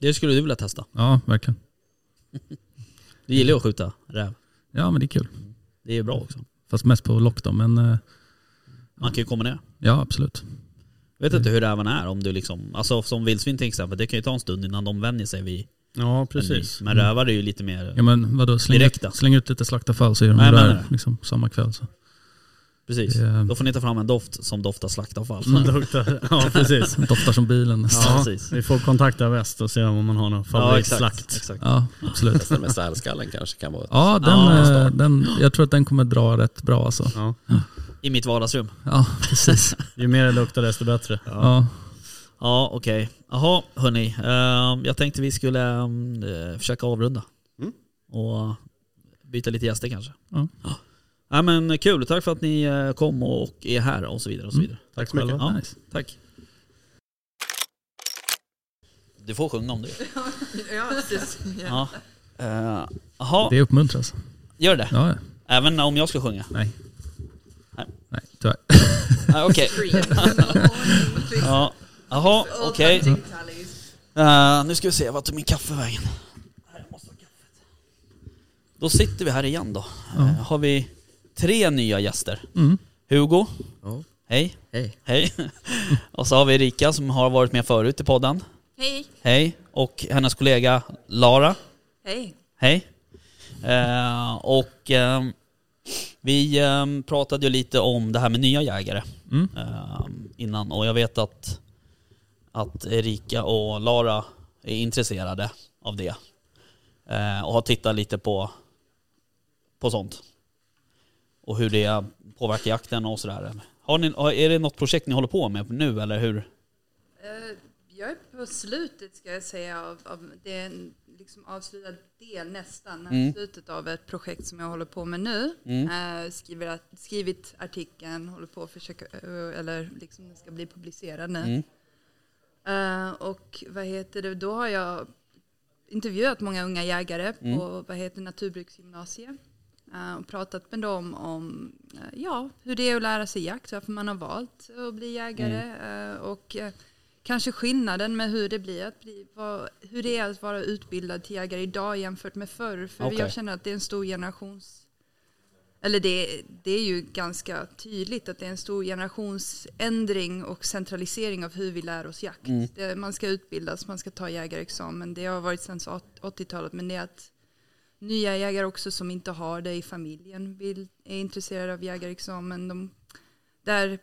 S1: Det skulle du vilja testa.
S5: Ja, verkligen.
S1: Du gillar ju att skjuta räv.
S5: Ja, men det är kul.
S1: Det är ju bra också.
S5: Fast mest på lock då, men eh,
S1: Man kan ju kombinera.
S5: ja absolut.
S1: Jag
S5: Mm.
S1: vet inte hur räven är om du liksom, alltså som vildsvin till exempel, det kan ju ta en stund innan de vänjer sig vid
S2: Ja,
S1: en ny.
S2: precis.
S1: Men rävar är ju lite mer,
S5: Mm. Ja men vadå, släng,
S1: Direkt då?
S5: ut, släng ut lite slaktavfall så är de
S1: Nej, jag menar
S5: där
S1: det.
S5: liksom, samma kväll. Så.
S1: precis.
S5: Det är- Mm,
S1: Då får ni ta fram en doft som doftar slaktavfall.
S2: Det luktar- Mm. ja, precis.
S5: Doftar som bilen nästan.
S1: Ja,
S2: Ja,
S1: precis.
S2: vi får kontakta väst och se om man har någon favoritslakt.
S1: exakt. exakt.
S5: Ja, absolut.
S6: Nästan med sälskallen kanske kan vara.
S5: Ja, den,
S1: Ja.
S5: eh, den, jag tror att den kommer dra rätt bra alltså.
S2: Ja,
S1: I mitt vardagsrum.
S5: Ja, precis.
S2: ju mer det luktar desto bättre.
S5: Ja,
S1: Ja, okej. Jaha, hörni. Ehm, jag tänkte vi skulle ehm, eh, försöka avrunda.
S6: Mm.
S1: Och byta lite gäster kanske.
S5: Ja.
S1: Ja, men kul. Tack för att ni eh, kom och är här och så vidare. Och så
S5: Mm.
S1: vidare.
S2: Tack så mycket.
S1: Ja,
S5: nice.
S1: Tack. Du får sjunga om du vill.
S7: Ja, precis. Ja.
S1: Ja. Eh, Jaha,
S5: Det uppmuntras.
S1: gör det.
S5: Ja, ja.
S1: Även om jag ska sjunga.
S5: nej tyvärr.
S1: Ah, okej. Ja. Jaha, okej. Eh, nu ska vi se, vart tog min kaffe vägen? Här, jag måste ha kaffet. Då sitter vi här igen då. Eh, har vi tre nya gäster.
S5: Mm.
S1: Hugo,
S8: Ja.
S1: hej.
S8: Hej.
S1: Hej. och så har vi Erika som har varit med förut i podden.
S7: Hej.
S1: Hej. Och hennes kollega Lara.
S7: Hej.
S1: Hej. Eh, och ehm, vi ehm, pratade ju lite om det här med nya jägare
S5: Mm.
S1: ehm, innan och jag vet att, att Erika och Lara är intresserade av det eh, och har tittat lite på, på sånt och hur det påverkar jakten och sådär. Har ni, har- är det något projekt ni håller på med nu eller hur?
S7: Eh, Jag är på slutet ska jag säga. Av, av, det är en liksom avslutad del nästan.
S1: Mm.
S7: Slutet av ett projekt som jag håller på med nu. Eh, skriver, att- skrivit artikeln, håller på att försöka, eh, eller liksom den ska bli publicerad nu.
S1: Mm.
S7: Eh, och vad heter det, då har
S1: Mm.
S7: jag intervjuat många unga jägare på vad heter naturbruksgymnasiet. eh, och pratat med dem om eh, ja, hur det är att lära sig jakt, varför man har valt att bli jägare
S1: Mm.
S7: eh, och eh, kanske skillnaden med hur det blir att bli, vad, hur det är att vara utbildad till jägare idag jämfört med förr. För
S4: Okej.
S7: jag känner att det är en stor generations... Eller det, det är ju ganska tydligt att det är en stor generationsändring och centralisering av hur vi lär oss jakt.
S4: Mm.
S7: Det, eh, man ska utbildas, man ska ta jägarexamen. Det har varit sedan 80-talet men det är att nya jägare också som inte har det i familjen vill, är intresserade av jägarexamen. De, där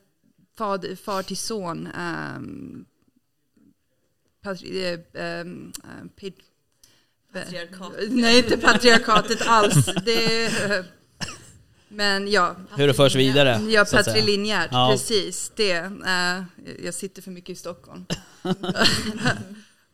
S7: far, far till son ehm, patri, eh, ehm, eh, pid-
S8: Patriarkatet.
S7: Nej, inte patriarkatet alls. Det är, men ja,
S1: Hur det förs vidare.
S7: ja
S1: så att säga.
S7: patrilinjärt,
S1: Ja.
S7: precis. Det, eh, jag sitter för mycket i Stockholm.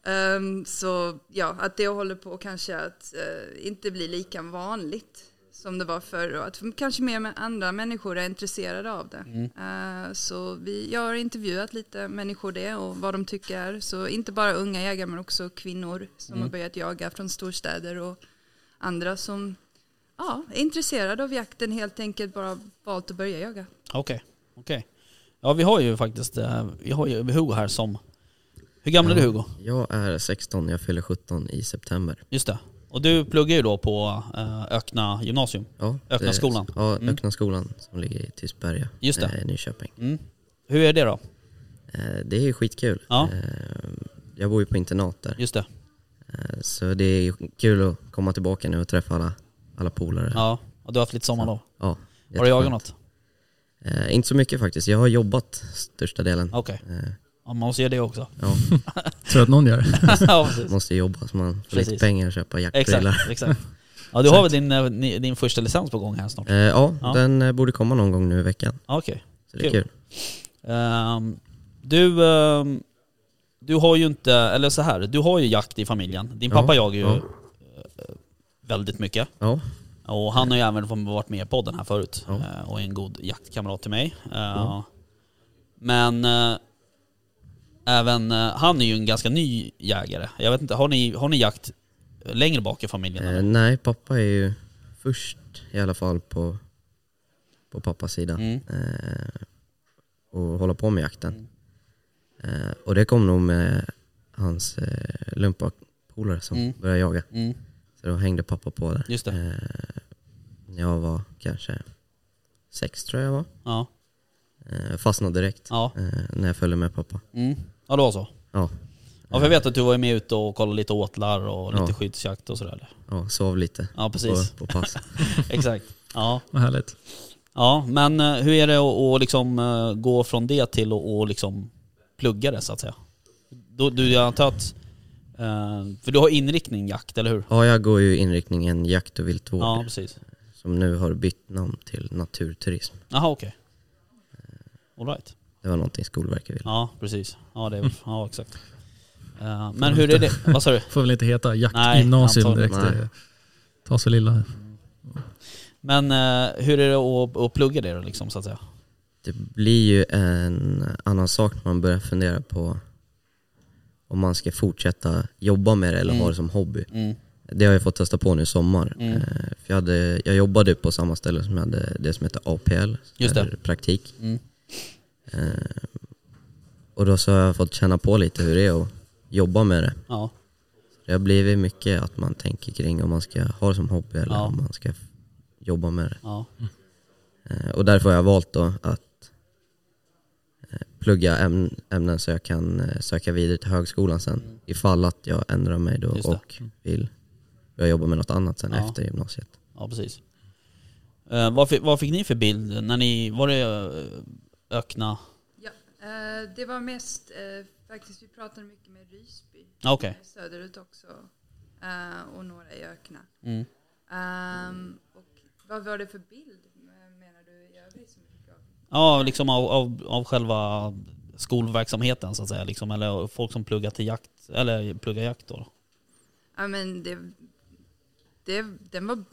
S7: Ehm, så ja, att det håller på kanske att eh, inte bli lika vanligt som det var förr och att kanske mer med andra människor är intresserade av
S1: Mm.
S7: det. Eh, så vi, jag har intervjuat lite människor det och vad de tycker. Så inte bara unga jägare men också kvinnor som har börjat jaga från storstäder och andra som ja, är intresserade av jakten helt enkelt bara valt att börja jaga.
S1: Okej, okej. Ja vi har ju faktiskt, eh, vi har ju Hugo här som... Hur gammal är du Hugo?
S9: Jag är 16, jag fyller 17 i september.
S1: Just det. Och du pluggar ju då på eh, Ökna gymnasium.
S9: Ja,
S1: Ökna
S9: det-
S1: skolan. Mm.
S9: Ja, Ökna skolan som ligger i Tystberga,
S1: Just det.
S9: eh, Nyköping.
S1: Mm. Hur är det då?
S9: Eh, Det är ju skitkul.
S1: Ja.
S9: Eh, Jag bor ju på internat där,
S1: Just det.
S9: eh, så det är ju kul att komma tillbaka nu och träffa alla, alla polare.
S1: Ja, och du har haft lite sommarlov.
S9: Ja,
S1: Har du jagat
S9: jätteskönt.
S1: något?
S9: Eh, Inte så mycket faktiskt, jag har jobbat största delen.
S1: Okej.
S9: Eh,
S1: Ja, man måste göra det också.
S9: Ja,
S5: Tror att någon gör det?
S1: ja, precis.
S9: måste jobba så man får
S1: Precis.
S9: lite pengar och köpa jaktprylar.
S1: Exakt, exakt. Ja, du har väl din, eh, ni- din första licens på gång här snart?
S9: Eh, Ja,
S1: Ja.
S9: den eh, borde komma någon gång nu i veckan,
S1: Ja, Okej.
S9: så det är
S1: Kul.
S9: kul.
S1: Ehm, du, ehm, du har ju inte, eller så här, du har ju jakt i familjen. Din
S9: Ja,
S1: pappa jagar ju
S9: ja.
S1: eh, väldigt mycket.
S9: Ja,
S1: Och han har ju även fått- varit med i podden här förut
S9: Ja.
S1: eh, och är en god jaktkamrat till mig. Eh, Men eh, även, eh, han är ju en ganska ny jägare. Jag vet inte, har ni, har ni jakt längre bak i familjen?
S9: Eh,
S1: eller?
S9: nej, pappa är ju först i alla fall på, på pappas sida
S1: Mm.
S9: eh, och hålla på med jakten.
S1: Mm.
S9: Eh, och det kom nog med hans eh, lumpapolare som
S1: Mm.
S9: började jaga.
S1: Mm,
S9: Så då hängde pappa på där.
S1: just det.
S9: Eh, när jag var kanske sex tror jag jag var.
S1: Ja.
S9: Eh, fastnade direkt
S1: Ja.
S9: eh, när jag följde med pappa.
S1: Mm. ja, det var så.
S9: Ja,
S1: Ja, för jag vet att du var ju med ute och kollade lite åtlar och lite
S9: Ja.
S1: skyddsjakt och sådär.
S9: ja sov lite
S1: Ja,
S9: på,
S1: precis.
S9: på pass.
S1: Exakt. Ja,
S5: Vad härligt.
S1: ja men eh, hur är det att, att liksom eh, gå från det till att att liksom plugga det så att säga? Du, du jag antar att... eh, För du har inriktning jakt, eller hur?
S9: ja, jag går ju inriktningen jakt och viltvård.
S1: Ja, precis.
S9: som nu har bytt namn till naturturism.
S1: Jaha, okej. All right.
S9: Eh, Det Mm. var någonting Skolverket ville.
S1: Ja, precis. Ja, det är, ja exakt. Eh, Men hur är det... Vad sa du?
S5: Får väl inte heta
S1: Nej,
S5: jaktgymnasium direkt.
S9: antagligen.
S5: Det tar så lilla.
S1: Men eh, hur är det att, att plugga det då liksom så att säga?
S9: Det blir ju en annan sak när man börjar fundera på om man ska fortsätta jobba med det eller
S1: Mm.
S9: ha det som hobby.
S1: Mm.
S9: Det har jag fått testa på nu i sommar.
S1: Mm.
S9: Eh, För jag, hade, jag jobbade på samma ställe som jag hade det som heter APL,
S1: Just det.
S9: eller eh, praktik.
S1: Mm.
S9: Eh, Och då så har jag fått känna på lite hur det är att jobba med det.
S1: Ja.
S9: Det har blivit mycket att man tänker kring om man ska ha det som hobby eller
S1: Ja.
S9: om man ska f- jobba med det.
S1: ja.
S9: Eh, Och därför har jag valt då att eh, plugga ämn- ämnen så jag kan eh, söka vidare till högskolan sen. Ifall att jag ändrar mig då
S1: Mm. Just det.
S9: och vill börja jobba med något annat sen
S1: Ja.
S9: efter gymnasiet.
S1: Ja, precis. Eh, vad, fick, vad fick ni för bild när ni, var det eh, ökna?
S7: Ja, eh, det var mest eh, faktiskt, vi pratade mycket med Rysby
S1: Ja, Okej.
S7: söderut också eh, och några i ökna.
S1: Mm.
S7: Ehm, och vad var det för bild eh, menar du i övrigt som du fick av?
S1: Ja, liksom av, av, av själva skolverksamheten så att säga, liksom, eller folk som pluggar till jakt, eller pluggar jakt då.
S7: Ja men det, det, den var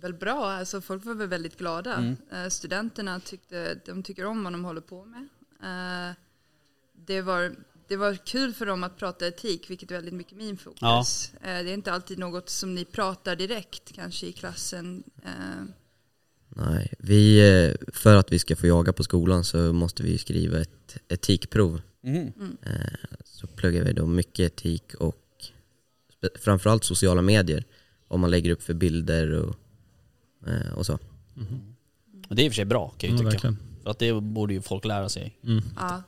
S7: väl bra, alltså folk var väl väldigt glada.
S1: Mm.
S7: Eh, studenterna tyckte, de tycker om vad de håller på med. Eh, det, var, det var kul för dem att prata etik, vilket är väldigt mycket min fokus.
S1: Ja.
S7: Eh, det är inte alltid något som ni pratar direkt kanske i klassen. Eh,
S9: Nej, vi, eh, för att vi ska få jaga på skolan så måste vi skriva ett etikprov.
S1: Mm.
S9: Eh, Så pluggar vi då mycket etik och spe- framförallt sociala medier. Vad man lägger upp för bilder och, eh, och så.
S1: Och det är i och för sig bra kan jag
S5: Ja,
S1: ju tycka.
S5: verkligen.
S1: För att det borde ju folk lära sig.
S7: Ja.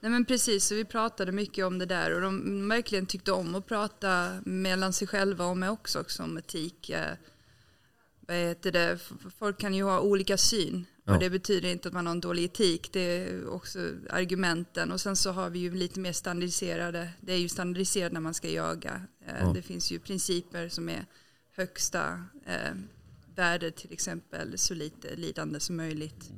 S7: Nej men precis, så vi pratade mycket om det där och de verkligen tyckte om att prata mellan sig själva och mig också, också om etik. Eh, Vad heter det? F- Folk kan ju ha olika syn
S9: Ja.
S7: och det betyder inte att man har en dålig etik. Det är också argumenten och sen så har vi ju lite mer standardiserade, det är ju standardiserat när man ska jaga. Eh,
S9: Ja.
S7: Det finns ju principer som är högsta eh, värde till exempel, så lite lidande som möjligt.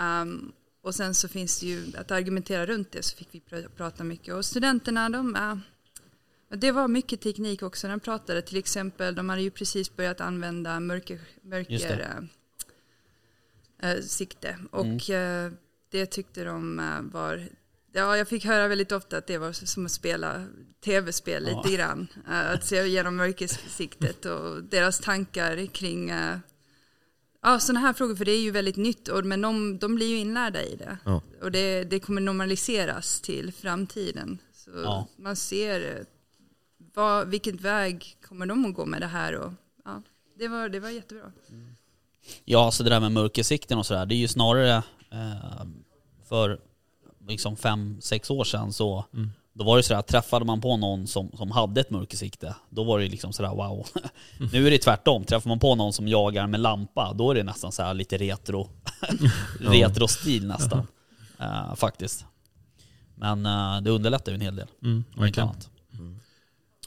S7: Um, och sen så finns det ju att argumentera runt det så fick vi pr- prata mycket. Och studenterna de är, det var mycket teknik också när de pratade. Till exempel de hade ju precis börjat använda mörker,
S1: Just
S7: mörker eh, eh, sikte. Och eh, det tyckte de eh, var, ja jag fick höra väldigt ofta att det var som att spela tv-spel
S1: Ja.
S7: lite grann. Eh, att se genom mörkersiktet och deras tankar kring eh, Ja, sådana här frågor, för det är ju väldigt nytt, och, men de, de blir ju inlärda i det.
S9: Ja.
S7: Och det, det kommer normaliseras till framtiden. Så
S1: Ja.
S7: man ser eh, vad, vilken väg kommer de att gå med det här. Och, ja, det, var, det var jättebra.
S1: Ja, så det där med mörkersikten och sådär, det är ju snarare eh, för liksom fem, sex år sedan så Då var det sådär, träffade man på någon som, som hade ett mörkersikte, då var det ju liksom sådär wow. nu är det tvärtom, träffar man på någon som jagar med lampa, då är det nästan såhär lite retro, retro-stil nästan. Eh, faktiskt. Men eh, det underlättar ju en hel del.
S5: Mm,
S1: om inte annat.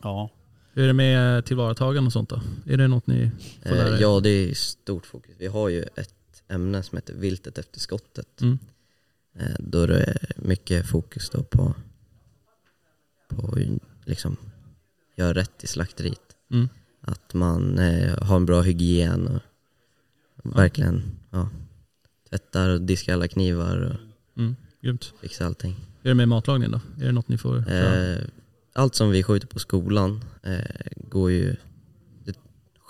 S1: Ja.
S5: Hur är det med tillvaratagande och sånt då? Är det något ni får lära
S9: Eh,
S5: er?
S9: Ja, det är stort fokus. Vi har ju ett ämne som heter viltet efter skottet.
S5: Mm.
S9: Eh, Då det är mycket fokus då på, på liksom, göra rätt i slakteriet.
S5: Mm.
S9: Att man eh, har en bra hygien och verkligen ja, tvättar och diskar alla knivar och
S5: Mm, grymt.
S9: fixar allting.
S5: Hur är det med matlagning då? Är det något ni får köra?
S9: Eh, allt som vi skjuter på skolan eh, går ju, det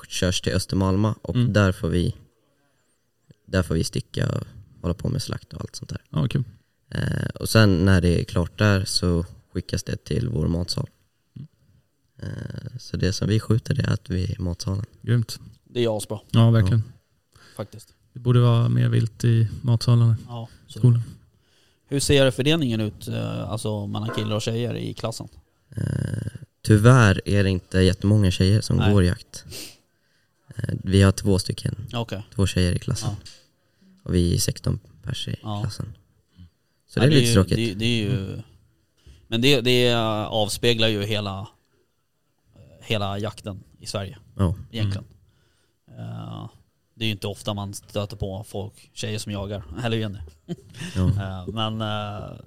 S9: körs till Östermalma och
S5: Mm.
S9: där, får vi, där får vi sticka och hålla på med slakt och allt sånt där.
S5: Ja, kul.
S9: Eh, och sen när det är klart där så skickas det till vår matsal.
S5: Mm.
S9: Eh, så det som vi skjuter det är att vi är i matsalen.
S5: Grymt.
S1: Det är jag bra
S5: Ja, verkligen.
S1: faktiskt.
S5: Det borde vara mer vilt i matsalarna
S1: Ja,
S5: i
S1: så.
S5: skolan.
S1: Hur ser fördelningen ut, eh, alltså mellan killar och tjejer i klassen?
S9: Eh, tyvärr är det inte jättemånga tjejer som
S1: Nej.
S9: går jakt. Eh, vi har två stycken,
S1: Okej.
S9: två tjejer i klassen. Och vi är 16 pers i
S1: Ja.
S9: klassen. Så
S1: Ja,
S9: det är lite
S1: ju-
S9: tråkigt.
S1: Det, det är ju, men det, det avspeglar ju hela, eh, hela jakten i Sverige
S9: Ja. Mm.
S1: egentligen. Eh, det är ju inte ofta man stöter på folk, tjejer som jagar, eller hur Jenny?
S9: Ja.
S1: Eh, men eh,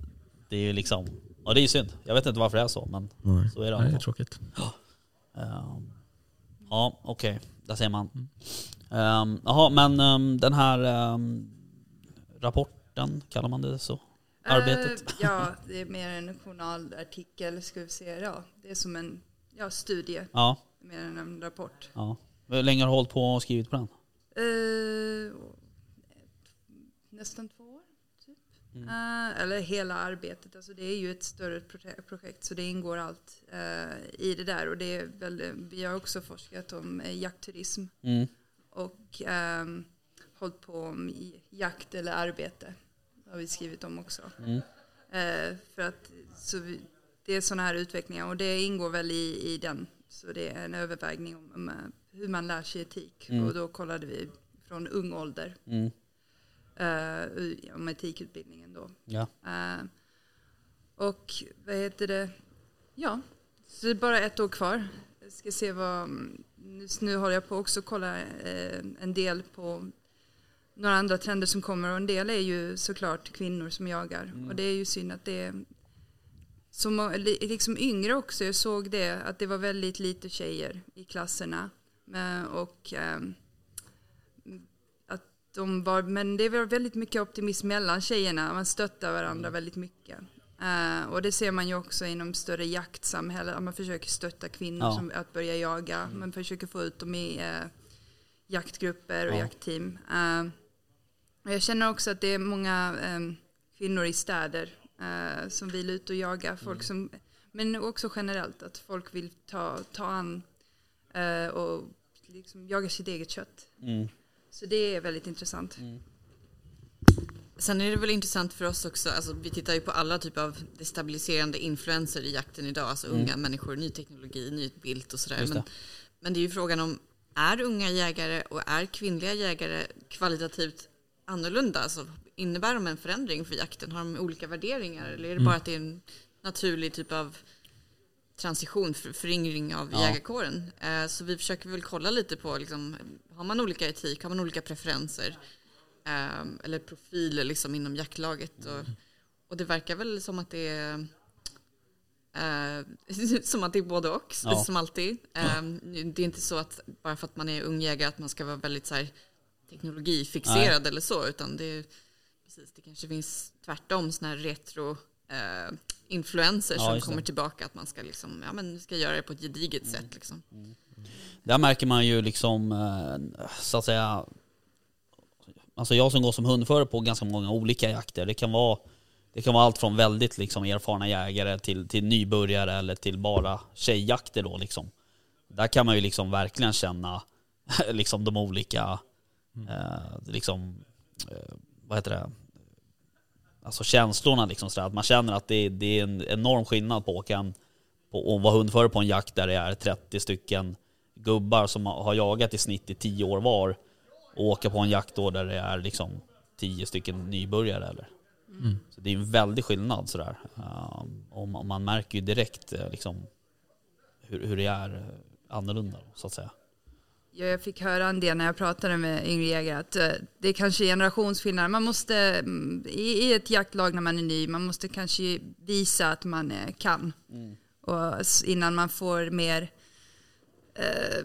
S1: det är ju liksom, ja det är ju synd. Jag vet inte varför det är så, men
S9: Nej.
S1: så är det. alltså.
S5: Nej, det är
S1: alltid.
S5: tråkigt.
S1: Ehm, Ja, okej. Där ser man. Ehm, Jaha, men ehm, den här ehm, rapporten, kallar man det så? Arbetet?
S7: Eh, ja, det är mer en journalartikel, ska vi säga. Ja, det är som en ja, studie,
S1: Ja,
S7: mer än en rapport.
S1: ja. Hur länge har du hållit på och skrivit på den?
S7: Eh, nästan två år. Typ.
S1: Mm.
S7: Eh, eller hela arbetet. Alltså det är ju ett större prote- projekt så det ingår allt eh, i det där. Och det är väl, vi har också forskat om eh, jaktturism
S1: Mm.
S7: och um, hållit på om i- jakt eller arbete. Det har vi skrivit om också.
S1: Mm.
S7: Eh, för att, så vi, det är sådana här utvecklingar och det ingår väl i, i den. Så det är en övervägning om, om eh, hur man lär sig etik.
S1: Mm.
S7: Och då kollade vi från ung ålder
S1: Mm.
S7: eh, om etikutbildningen då.
S1: Ja.
S7: Eh, och vad heter det? Ja, så det är bara ett år kvar. Jag ska se vad... mm, Just nu håller jag på också att kolla eh, en del på några andra trender som kommer och en del är ju såklart kvinnor som jagar.
S1: Mm.
S7: Och det är ju synd att det är så må- li- liksom yngre också. Jag såg det, att det var väldigt lite tjejer i klasserna. Men, och ehm, att de var, men det var väldigt mycket optimism mellan tjejerna. Man stöttar varandra
S1: Mm.
S7: väldigt mycket. Eh, och det ser man ju också inom större jaktsamhällen. att Man försöker stötta kvinnor
S1: Ja. Mm.
S7: som, att börja jaga. Man försöker få ut dem i eh, jaktgrupper och
S1: Ja.
S7: jaktteam. Eh, och jag känner också att det är många eh, kvinnor i städer eh, som vill ut och jaga. Folk som, men också generellt att folk vill ta, ta an eh, och liksom jaga sitt eget kött.
S1: Mm.
S7: Så det är väldigt intressant.
S8: Sen är det väl intressant för oss också, alltså, vi tittar ju på alla typer av destabiliserande influenser i jakten idag, alltså unga människor, ny teknologi, nytt bild och sådär.
S1: Mm. Just det.
S8: Men, men det är ju frågan om, är unga jägare och är kvinnliga jägare kvalitativt annorlunda? Alltså, innebär de en förändring för jakten? Har de olika värderingar? Eller
S1: Mm.
S8: är det bara att det är en naturlig typ av transition, för, föryngring av
S1: Ja.
S8: jägarkåren. Eh, så vi försöker väl kolla lite på, liksom, har man olika etik, har man olika preferenser? Ehm, eller profiler liksom inom jaktlaget. Och,
S1: Mm.
S8: och det verkar väl som att det är eh, som att det är både och,
S1: Ja.
S8: som alltid. Ehm, nu- det är inte så att bara för att man är ung jägare att man ska vara väldigt så här, teknologifixerad eller så, utan det, är- precis, det kanske finns tvärtom sådana här retro eh, influenser
S1: Ja,
S8: som
S1: just det. Mm.
S8: kommer tillbaka, att man ska liksom, ja men nu ska jag göra det på ett gediget sätt liksom.
S1: Där märker man ju liksom, eh, så att säga, alltså jag som går som hundförare på ganska många olika jakter, det kan vara, det kan vara allt från väldigt liksom erfarna jägare till, till nybörjare eller till bara tjejjakter då liksom. Där kan man ju liksom verkligen känna liksom de olika, eh, liksom, eh, vad heter det, alltså känslorna liksom sådär, att man känner att det, det är en enorm skillnad på att åka en, på, att vara hundförare på en jakt där det är 30 stycken gubbar som har jagat i snitt i 10 år var och åka på en jakt då där det är liksom 10 stycken nybörjare eller. Så det är en väldig skillnad sådär. Um, och man- man märker ju direkt eh, liksom hur, hur det är eh, annorlunda så att säga.
S7: Ja, jag fick höra en del när jag pratade med yngre jägare att eh, det är kanske är generationsskillnad. Man måste, mm, i, i ett jaktlag när man är ny, man måste kanske visa att man eh, kan. Och s- innan man får mer, eh,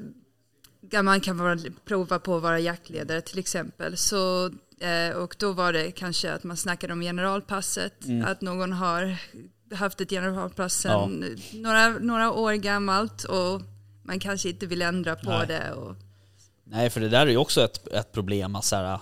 S7: ja, man kan vara, prova på att vara jaktledare till exempel. Så, eh, och då var det kanske att man snackade om generalpasset, att någon har haft ett generalpass sedan några, några år gammalt och man kanske inte vill ändra på
S1: Nej.
S7: det. Och,
S1: Nej, för det där är ju också ett, ett problem. att Så här, eh,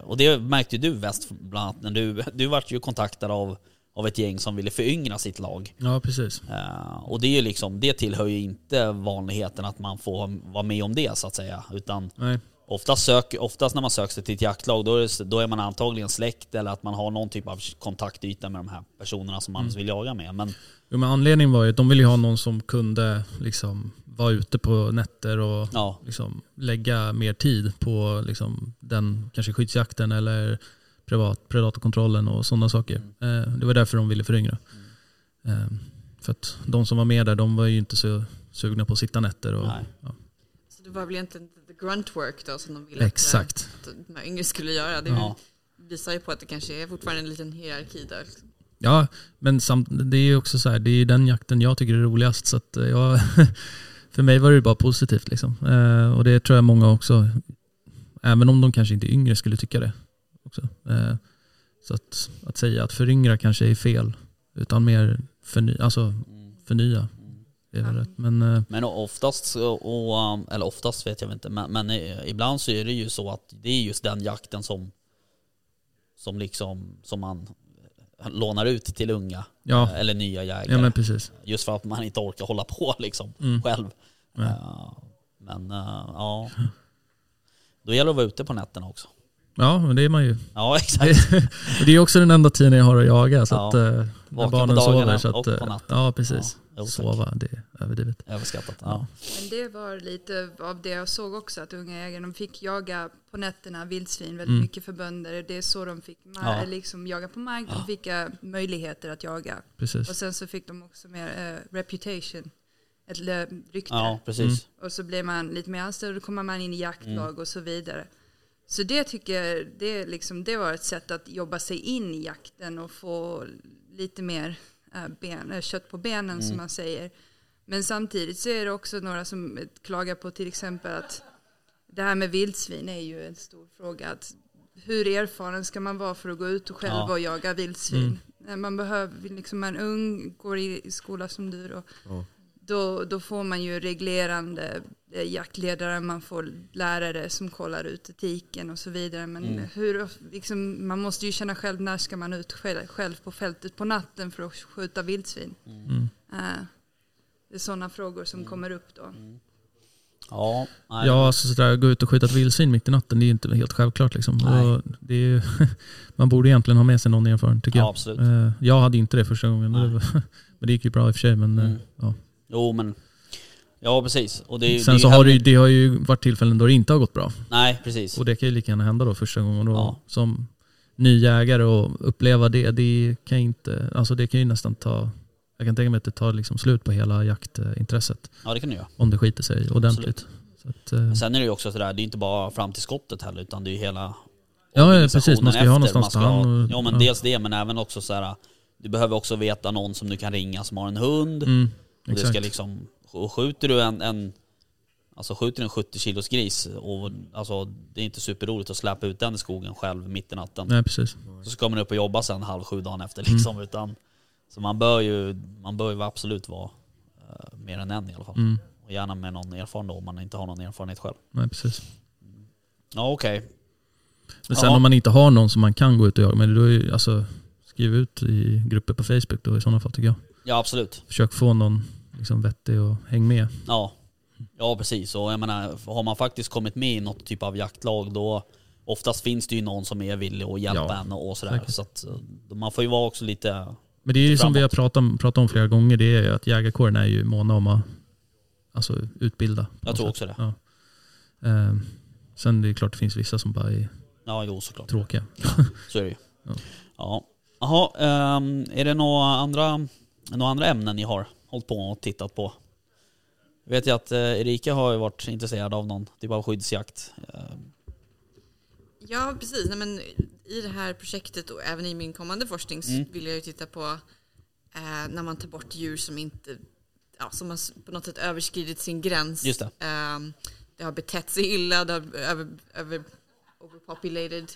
S1: och det märkte ju du West bland annat när du, du vart ju kontaktad av, av ett gäng som ville föryngra sitt lag.
S5: Ja, precis.
S1: Eh, och det är ju liksom, det tillhör ju inte vanligheten att man får vara med om det så att säga. Utan
S5: Nej.
S1: oftast, sök, oftast när man söker sig till ett jaktlag då är, det, då är man antagligen släkt eller att man har någon typ av kontaktyta med de här personerna som man vill jaga med. Men
S5: Jo, men anledningen var ju att de ville ju ha någon som kunde liksom, vara ute på nätter och
S1: ja,
S5: liksom, lägga mer tid på liksom, den kanske skyddsjakten eller privat, predatorkontrollen och sådana saker.
S1: Mm.
S5: Eh, det var därför de ville föryngra. Eh, för att de som var med där, de var ju inte så sugna på att sitta nätter. Och,
S1: Nej.
S5: ja.
S8: Så det var väl egentligen the grunt work då som de ville
S5: Exakt.
S8: Att, eh, att de här yngre skulle göra. Det
S1: Ja.
S8: visar ju på att det kanske är fortfarande en liten hierarki där. Liksom.
S5: Ja, men samt, det är ju också så här, det är ju den jakten jag tycker är roligast. Så att eh, jag, för mig var det ju bara positivt. Liksom. Eh, och det tror jag många också, även om de kanske inte är yngre, skulle tycka det. Också. Eh, så att, att säga att föryngra kanske är fel, utan mer förny, alltså, förnya. Det är väl rätt. Men eh,
S1: Men oftast, så- och, um, eller oftast vet jag inte, men, men eh, ibland så är det ju så att det är just den jakten som, som, liksom, som man lånar ut till unga
S5: ja,
S1: eh, eller nya jägare.
S5: ja men precis.
S1: Just för att man inte orkar hålla på liksom
S5: Mm.
S1: själv.
S5: Nej.
S1: Eh, Men eh, ja, då gäller det att vara ute på nätterna också.
S5: Ja, men det är man ju.
S1: Ja exakt.
S5: Och det är också den enda tiden jag har att jaga. Så
S1: Ja.
S5: att, eh, när
S1: Vaken på
S5: barnen
S1: dagarna
S5: sover. Så att,
S1: och på
S5: eh,
S1: natten.
S5: Ja, precis.
S1: Ja, jo, tack.
S5: Sova, det är överdrivet.
S1: Överskattat. Ja.
S7: Men det var lite av det jag såg också, att unga jägare de fick jaga på nätterna vildsvin väldigt
S5: Mm.
S7: mycket för bönder. Det är så de fick ma-
S1: Ja.
S7: liksom jaga på mark, de fick eh, möjligheter att jaga.
S5: Precis.
S7: Och sen så fick de också mer eh, reputation, ett lö- rykte. Mm.
S1: ja precis. Mm.
S7: Och så blir man lite mer anställd och då kommer man in i jaktlag och så vidare. Så det tycker jag, det, är liksom, det var ett sätt att jobba sig in i jakten och få lite mer eh, ben, eh, kött på benen
S1: Mm.
S7: som man säger. Men samtidigt så är det också några som klagar på till exempel att det här med vildsvin är ju en stor fråga. Att hur erfaren ska man vara för att gå ut och själv
S1: Ja.
S7: och jaga vildsvin? Eh, Man behöver, liksom en ung går i skola som du då,
S9: Ja.
S7: då, då får man ju reglerande eh, jaktledare, man får lärare som kollar ut etiken och så vidare. Men
S5: Mm.
S7: hur, liksom, man måste ju känna själv när ska man ut själv, själv på fältet på natten för att skjuta vildsvin.
S5: Mm.
S7: Eh, det är sådana frågor som kommer upp då.
S1: Ja, nej.
S5: Mm. Ja, alltså sådär, gå ut och skjuta ett vildsvin mitt i natten, det är ju inte helt självklart. Liksom.
S1: Nej.
S5: Och det är ju, man borde egentligen ha med sig någon erfaren tycker
S1: ja,
S5: jag.
S1: absolut.
S5: Eh, Jag hade inte det första gången,
S1: Nej.
S5: Det var- men det gick ju bra i och för sig. Men, eh,
S1: Mm.
S5: ja.
S1: Jo men, ja precis. Och det, är ju- det är
S5: Sen så
S1: ju
S5: har det,
S1: hellre-
S5: ju- det har ju varit tillfällen då det inte har gått bra.
S1: Nej precis.
S5: Och det kan ju lika gärna hända då första gången. Då,
S1: Ja.
S5: Som ny jägare och uppleva det, det kan ju inte, alltså det kan ju nästan ta, jag kan tänka mig att det tar liksom slut på hela jaktintresset.
S1: Ja det kan du göra.
S5: Om det skiter sig ordentligt. Så att, eh,
S1: Men Sen är det ju också sådär, det är inte bara fram till skottet heller utan det är ju hela
S5: ja, ja,
S1: organisationen
S5: precis. Man ska ju ha
S1: efter.
S5: någonstans
S1: Man ska
S5: att ta hand
S1: ha-
S5: och-
S1: Ja men dels det men även också såhär, du behöver också veta någon som du kan ringa som har en hund.
S5: Mm,
S1: Och det
S5: exakt.
S1: ska liksom, och skjuter du en, en Alltså skjuter du en 70 kilos gris och alltså, det är inte superroligt att släpa ut den i skogen själv mitt i natten.
S5: Nej, precis. Mm.
S1: Så ska man upp och jobba sen halv sju dagen efter liksom. Utan, så man bör ju, man bör ju absolut vara eh, mer än en i alla fall.
S5: Mm.
S1: Och gärna med någon erfaren då om man inte har någon erfarenhet själv.
S5: Nej, precis.
S1: Ja okej.
S5: Men sen
S1: Ja.
S5: om man inte har någon som man kan gå ut och jaga med, då är ju, alltså, skriv ut i grupper på Facebook då i sådana fall tycker jag.
S1: Ja absolut.
S5: Försök få någon liksom, vettig och häng med.
S1: Ja. ja precis. Och jag menar har man faktiskt kommit med i något typ av jaktlag då oftast finns det ju någon som är villig att hjälpa
S5: Ja,
S1: en och sådär.
S5: säkert.
S1: Så att, eh, man får ju vara också lite
S5: Men det är ju som
S1: framåt.
S5: vi har pratat om, pratat om flera gånger, det är ju att jägarkåren är ju måna om att alltså, utbilda. på
S1: Jag tror
S5: något
S1: också
S5: sätt. Ja. Ehm, sen det är klart det finns vissa som bara är
S1: Ja jo såklart.
S5: tråkiga.
S1: Så är det ju.
S5: Ja.
S1: Ja. Jaha, ehm, är det några andra, några andra ämnen ni har hållit på och tittat på? Jag vet jag att eh, Erika har ju varit intresserad av någon typ av skyddsjakt. Ehm,
S8: Ja, precis. Nej, men I det här projektet och även i min kommande forskning så
S1: Mm.
S8: vill jag ju titta på eh, när man tar bort djur som inte ja, som har s- på något sätt överskridit sin gräns.
S1: Just det.
S8: Eh, det har betett sig illa, det har över, över, overpopulated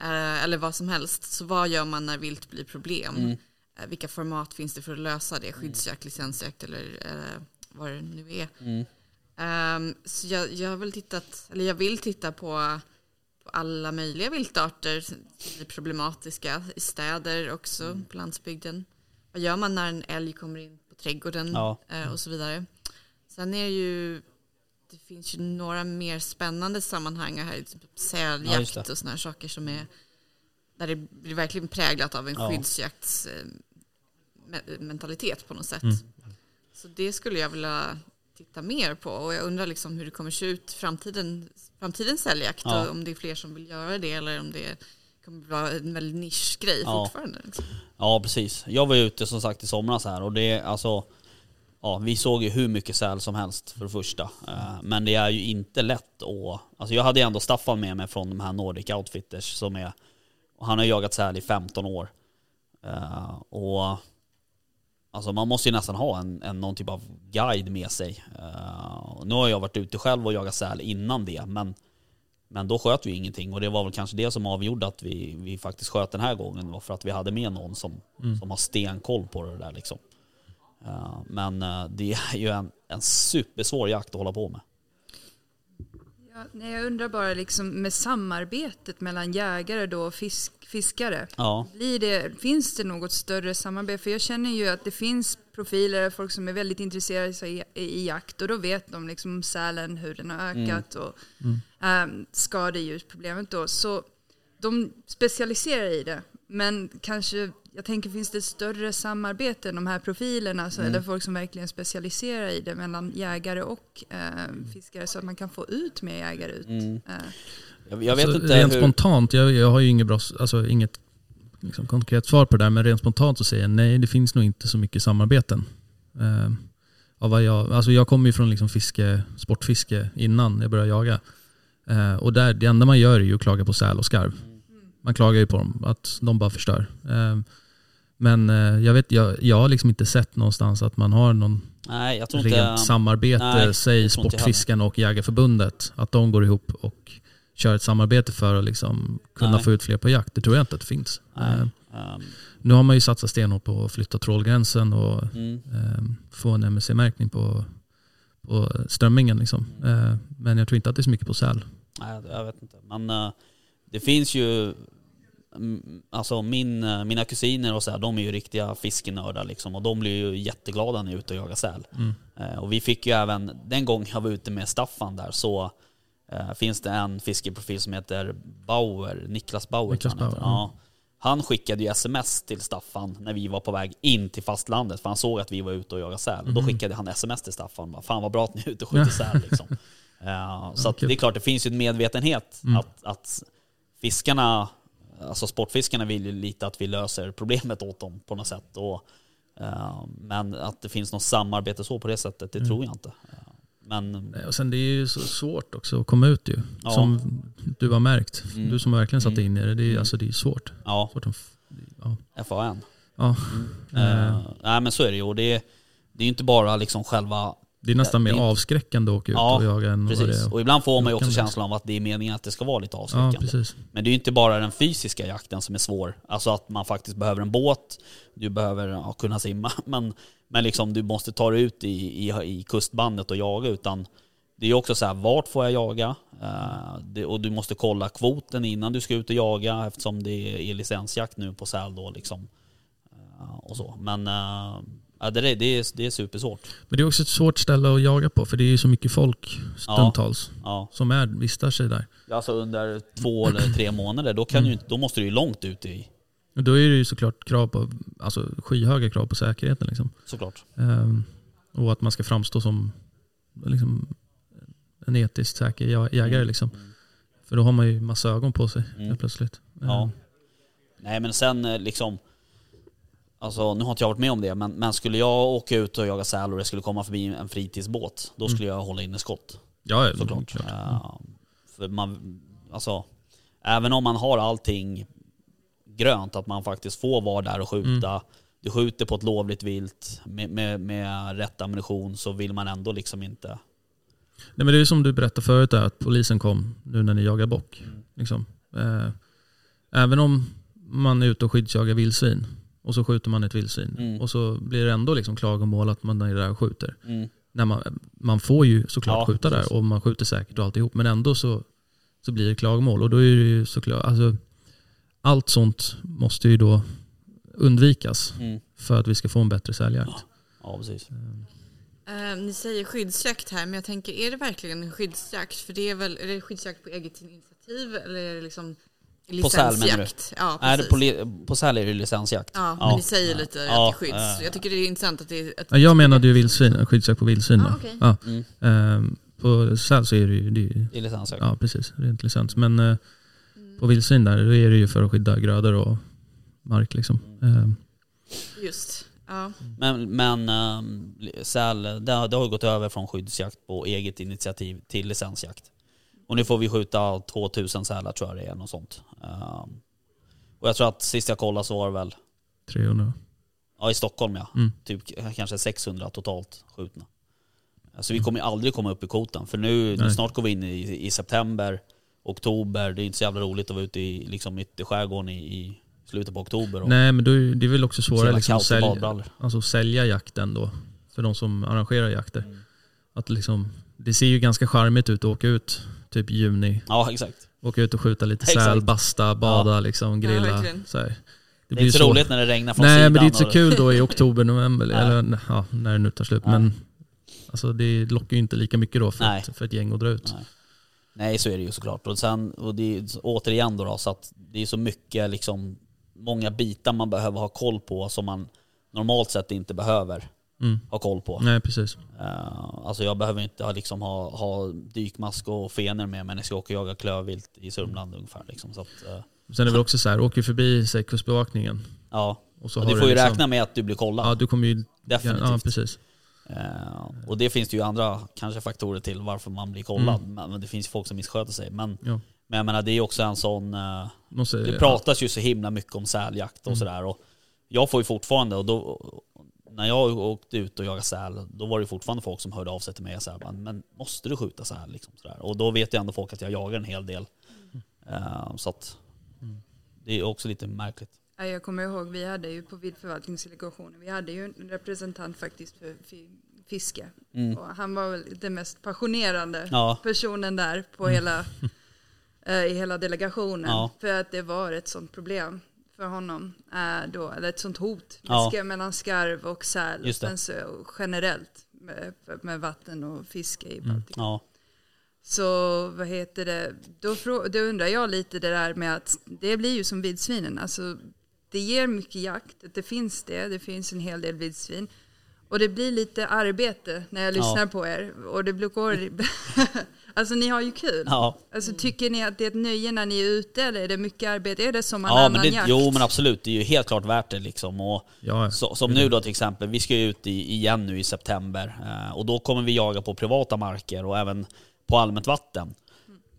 S8: eh, eller vad som helst. Så vad gör man när vilt blir problem? Eh, vilka format finns det för att lösa det? Skyddsjakt, licensjakt eller eh, vad det nu är. Ehm, så jag, jag har väl tittat, eller jag vill titta på, på alla möjliga viltarter som blir problematiska i städer också, på landsbygden. Vad gör man när en älg kommer in på trädgården
S1: Ja.
S8: eh, och så vidare. Sen är det ju, det finns ju några mer spännande sammanhang här, typ
S1: Ja,
S8: säljakt
S1: just det.
S8: och sådana här saker som är, där det blir verkligen präglat av en
S1: Ja.
S8: skyddsjaktsmentalitet på något sätt.
S1: Mm.
S8: Så det skulle jag vilja titta mer på och jag undrar liksom hur det kommer se ut framtiden, framtidens säljakt
S1: Ja.
S8: och om det är fler som vill göra det eller om det kommer vara en väldigt nischgrej
S1: Ja.
S8: fortfarande. Liksom.
S1: Ja precis. Jag var ju ute som sagt i somras här och det är alltså Ja, vi såg ju hur mycket säl som helst för det första. Eh, Men det är ju inte lätt att... Alltså jag hade ju ändå Staffan med mig från de här Nordic Outfitters som är... Och han har jagat säl i 15 år. Eh, Och... Alltså man måste ju nästan ha en, en, någon typ av guide med sig. Eh, och Nu har jag varit ute själv och jagat säl innan det men... Men då sköt vi ingenting och det var väl kanske det som avgjorde att vi, vi faktiskt sköt den här gången var för att vi hade med någon som, som har stenkoll på det där liksom. Eh, men eh, det är ju en, en supersvår jakt att hålla på med.
S7: Ja, nej, jag undrar bara liksom med samarbetet mellan jägare då och fisk, fiskare.
S1: Ja,
S7: Blir det, finns det något större samarbete? För jag känner ju att det finns profiler, folk som är väldigt intresserade i sig- i, i jakt och då vet de liksom om sälen, hur den har ökat och um, skadedjursproblemet då. Så de specialiserar i det. Men kanske, jag tänker finns det ett större samarbete än de här profilerna så, eller folk som verkligen specialiserar i det mellan jägare och eh, fiskare så att man kan få ut mer jägare ut. Eh,
S1: jag, jag vet
S5: Alltså,
S1: inte
S5: rent
S1: hur...
S5: spontant, jag, jag har ju inget, bra, alltså, inget liksom, konkret svar på det där, men rent spontant så säger jag nej, det finns nog inte så mycket samarbeten. Eh, av vad jag, alltså, jag kommer ju från liksom, fiske, sportfiske innan jag började jaga. Eh, och där, det enda man gör är ju att klaga på säl och skarv. Man klagar ju på dem, att de bara förstör. Eh, men eh, jag, vet, jag, jag har liksom inte sett någonstans att man har någon
S1: Nej, jag tror
S5: rent
S1: inte...
S5: samarbete,
S1: nej,
S5: säg
S1: jag tror inte jag
S5: Sportfiskarna och Jägarförbundet, att de går ihop och kör ett samarbete för att liksom kunna
S1: Nej.
S5: få ut fler på jakt. Det tror jag inte att det finns.
S1: Nej.
S5: Eh,
S1: ehm,
S5: Nu har man ju satsat stenhårt på att flytta trålgränsen och
S1: mm,
S5: eh, få en MSC-märkning på, på strömmingen. Liksom.
S1: Mm.
S5: Eh, Men jag tror inte att det är så mycket på säl.
S1: Nej, jag vet inte. Men eh, det finns ju, mm, alltså min, eh, mina kusiner och så här, de är ju riktiga fiskenördar liksom. Och de blir ju jätteglada när jag är ute och jagar säl.
S5: Mm.
S1: Eh, Och vi fick ju även, den gången jag var ute med Staffan där så eh, finns det en fiskeprofil som heter Bauer, Niklas Bauer.
S5: Niklas
S1: tror jag han heter.
S5: Bauer,
S1: ja. Han skickade ju sms till Staffan när vi var på väg in till fastlandet för han såg att vi var ute och jagade säl.
S5: Mm.
S1: Och Då skickade han sms till Staffan bara, fan vad bra att ni är ute och skjuter säl liksom. Eh, Så att det är klart, det finns ju en medvetenhet
S5: Mm.
S1: att, att fiskarna, alltså sportfiskarna vill ju lite att vi löser problemet åt dem på något sätt. Och, eh, men att det finns något samarbete så på det sättet, det tror jag inte. Eh, Men
S5: Mm. Nej, Och sen det är ju så svårt också att komma ut ju.
S1: Ja. Mm.
S5: Som du har märkt. Du som har verkligen satt dig in i det. Det är, alltså, det är svårt.
S1: ja,
S5: svårt att, ja.
S1: FAN.
S5: Ja.
S1: Eh, Nej men så är det ju. Och det, är- det är ju inte bara liksom själva
S5: Det är nästan
S1: Det är
S5: mer
S1: inte-
S5: avskräckande att åka ut
S1: Ja,
S5: och jaga än vad det
S1: Precis,
S5: är.
S1: och ibland får man ju också
S5: Lockande.
S1: känslan av att det är meningen att det ska vara lite
S5: Ja,
S1: avskräckande.
S5: precis.
S1: Men det är ju inte bara den fysiska jakten som är svår. Alltså att man faktiskt behöver en båt, du behöver ja, kunna simma, men, men liksom du måste ta dig ut i, i, i kustbandet och jaga. Utan det är ju också så här, vart får jag jaga? Eh, det, och du måste kolla kvoten innan du ska ut och jaga eftersom det är licensjakt nu på säl då liksom. Eh, och så. Men eh, ja, det, är- det, är, det är supersvårt.
S5: Men det är också ett svårt ställe att jaga på för det är ju så mycket folk stundtals
S1: Ja.
S5: som är, vistar sig där.
S1: Alltså under två eller tre månader, då,
S5: Mm.
S1: kan du, ju inte- då måste du ju långt ut i,
S5: Och då är det ju såklart krav på, alltså skyhöga krav på säkerheten. Liksom.
S1: såklart.
S5: Ehm, och att man ska framstå som liksom, en etiskt säker jä- jägare.
S1: Mm.
S5: Liksom. För då har man ju massa ögon på sig helt plötsligt.
S1: Ja.
S5: Ehm,
S1: Nej men sen eh, liksom, alltså nu har inte jag varit med om det, men, men skulle jag åka ut och jaga säl och det skulle komma förbi en fritidsbåt, då skulle
S8: Mm.
S1: jag hålla inne skott.
S5: ja, ja,
S1: Såklart.
S5: klart.
S1: Eh, för man, alltså, även om man har allting grönt, att man faktiskt får vara där och skjuta,
S8: Mm.
S1: du skjuter på ett lovligt vilt med, med, med rätt ammunition så vill man ändå liksom inte
S5: Nej, men det är som du berättade förut, där, att polisen kom nu när ni jagar bock. Liksom. Eh, även om man är ute och skyddsjagar vildsvin och så skjuter man ett vildsvin
S1: Mm.
S5: och så blir det ändå liksom klagomål att man är där och skjuter.
S1: Mm.
S5: När man, man får ju såklart
S1: Ja,
S5: skjuta
S1: precis.
S5: där och man skjuter säkert och alltihop men ändå så, så blir det klagomål och då är det ju såklart, alltså, allt sånt måste ju då undvikas
S1: Mm.
S5: för att vi ska få en bättre säljakt.
S1: Ja precis.
S8: Eh, ni säger skyddsjakt här, men jag tänker, är det verkligen en skyddsjakt? För det är väl är det skyddsjakt på eget initiativ eller är det liksom
S1: säl,
S8: licensjakt?
S1: menar du?
S8: Ja,
S1: Är det
S8: precis.
S1: på, li- på säl är det licensjakt.
S8: Ja, men ni säger lite
S1: Ja,
S8: att det är skydds.
S1: eh.
S8: jag tycker det är intressant att det är... Att
S5: Ja, Jag menade ju vildsvin, skyddsjakt på vildsvin.
S8: Ah,
S5: då.
S8: okej.
S5: ja.
S1: Mm.
S5: Ehm, på säl så är det ju, det är ju
S1: Det är licensjakt.
S5: ja, precis, rent licens. Men
S8: Mm.
S5: eh, på vildsvin där, då är det ju för att skydda grödor och mark. Liksom.
S1: Mm.
S5: Ehm,
S8: Just. Ja.
S1: Men, men ehm, säl, det, har- det har gått över från skyddsjakt på eget initiativ till licensjakt. Och nu får vi skjuta 2000 sälar tror jag det är, något sånt. Ehm, och jag tror att sist jag kollade så var det väl,
S5: 300.
S1: ja i Stockholm ja,
S5: Mm.
S1: typ k- kanske 600 totalt skjutna. Så vi kommer ju aldrig komma upp i kvoten, för nu
S5: Nej.
S1: snart går vi in i, i september, oktober, det är inte så jävla roligt att vara ute i liksom, ytterskärgården i, i slutet på oktober. Och
S5: Nej, men då är, ju- det är väl också
S1: så jävla
S5: svårare liksom, att
S1: kaos i
S5: sälja,
S1: badbrallor.
S5: alltså, sälja jakten då, för de som arrangerar jakter.
S1: Mm.
S5: Att liksom, det ser ju ganska charmigt ut att åka ut typ i juni,
S1: Ja exakt.
S5: åka ut och skjuta lite
S1: Exakt.
S5: säl, basta, bada, liksom,
S8: Ja,
S5: grilla.
S8: verkligen.
S5: så här.
S1: Det,
S5: blir
S1: är inte så
S5: svårt.
S1: roligt när det regnar från
S5: Nej,
S1: sidan.
S5: men det är inte så
S1: och-
S5: kul då i oktober, november,
S1: Nej.
S5: eller ja, när det nu tar slut.
S1: Nej.
S5: Men alltså, det lockar ju inte lika mycket då för,
S1: Nej.
S5: ett, för ett gäng att dra ut.
S1: Nej. Nej, så är det ju såklart. Och, sen, och det är, återigen då, då så att det är så mycket, liksom, många bitar man behöver ha koll på som man normalt sett inte behöver
S5: Mm.
S1: ha koll på.
S5: Nej, precis.
S1: Eh, alltså jag behöver inte ha, liksom, ha, ha dykmask och fenor med mig när jag ska åka och jaga klövvilt i Sörmland ungefär. Liksom. Så att, eh,
S5: Sen är det väl också så här, åker förbi säg, kustbevakningen.
S1: ja.
S5: Och så
S1: och
S5: har
S1: du får ju
S5: liksom-
S1: räkna med att du blir kollad.
S5: Ja, du kommer ju...
S1: definitivt.
S5: Ja, precis.
S1: Eh, och det finns det ju andra kanske faktorer till varför man blir kollad. Men, men det finns ju folk som missköter sig. Men,
S5: Mm. Ja.
S1: men jag menar, det är ju också en sån... eh,
S5: Måste,
S1: Det pratas ju så himla mycket om säljakt
S5: Mm.
S1: och sådär. Och jag får ju fortfarande, och då, när jag åkte ut och jagade säl, då var det ju fortfarande folk som hörde av sig till mig och sa "Men- men måste du skjuta säl? Liksom sådär. Och då vet ju ändå folk att jag jagar en hel del.
S5: Mm.
S1: Eh, så att det är också lite märkligt.
S7: Ja, Jag kommer ihåg, vi hade ju på viltförvaltningsdelegationen, vi hade ju en representant faktiskt för, för fiske.
S1: Mm.
S7: Och han var väl den mest passionerande
S1: Ja. Mm.
S7: personen där på hela, eh, i hela delegationen.
S1: Ja.
S7: För att det var ett sånt problem för honom. eh, då, eller ett sånt hot
S1: Ja.
S7: fiske mellan skarv och säl.
S1: Just det.
S7: Men så generellt med, med vatten och fiske i
S5: Mm.
S7: Baltikum.
S1: Ja.
S7: Så vad heter det, då, frå- då undrar jag lite det där med att det blir ju som vildsvinen. Alltså, det ger mycket jakt, det finns det, det finns en hel del vildsvin. Och det blir lite arbete när jag lyssnar på er. Och det blir går... alltså ni har ju kul.
S1: Ja.
S7: Alltså, tycker ni att det är ett nöje när ni är ute eller är det mycket arbete? Är det som en
S1: Ja,
S7: annan
S1: men det,
S7: jakt?
S1: jo men absolut, det är ju helt klart värt det liksom. Och
S5: Ja,
S1: så, som
S5: det är
S1: nu då till exempel, vi ska ju ut i, igen nu i september eh, och då kommer vi jaga på privata marker och även på allmänt vatten.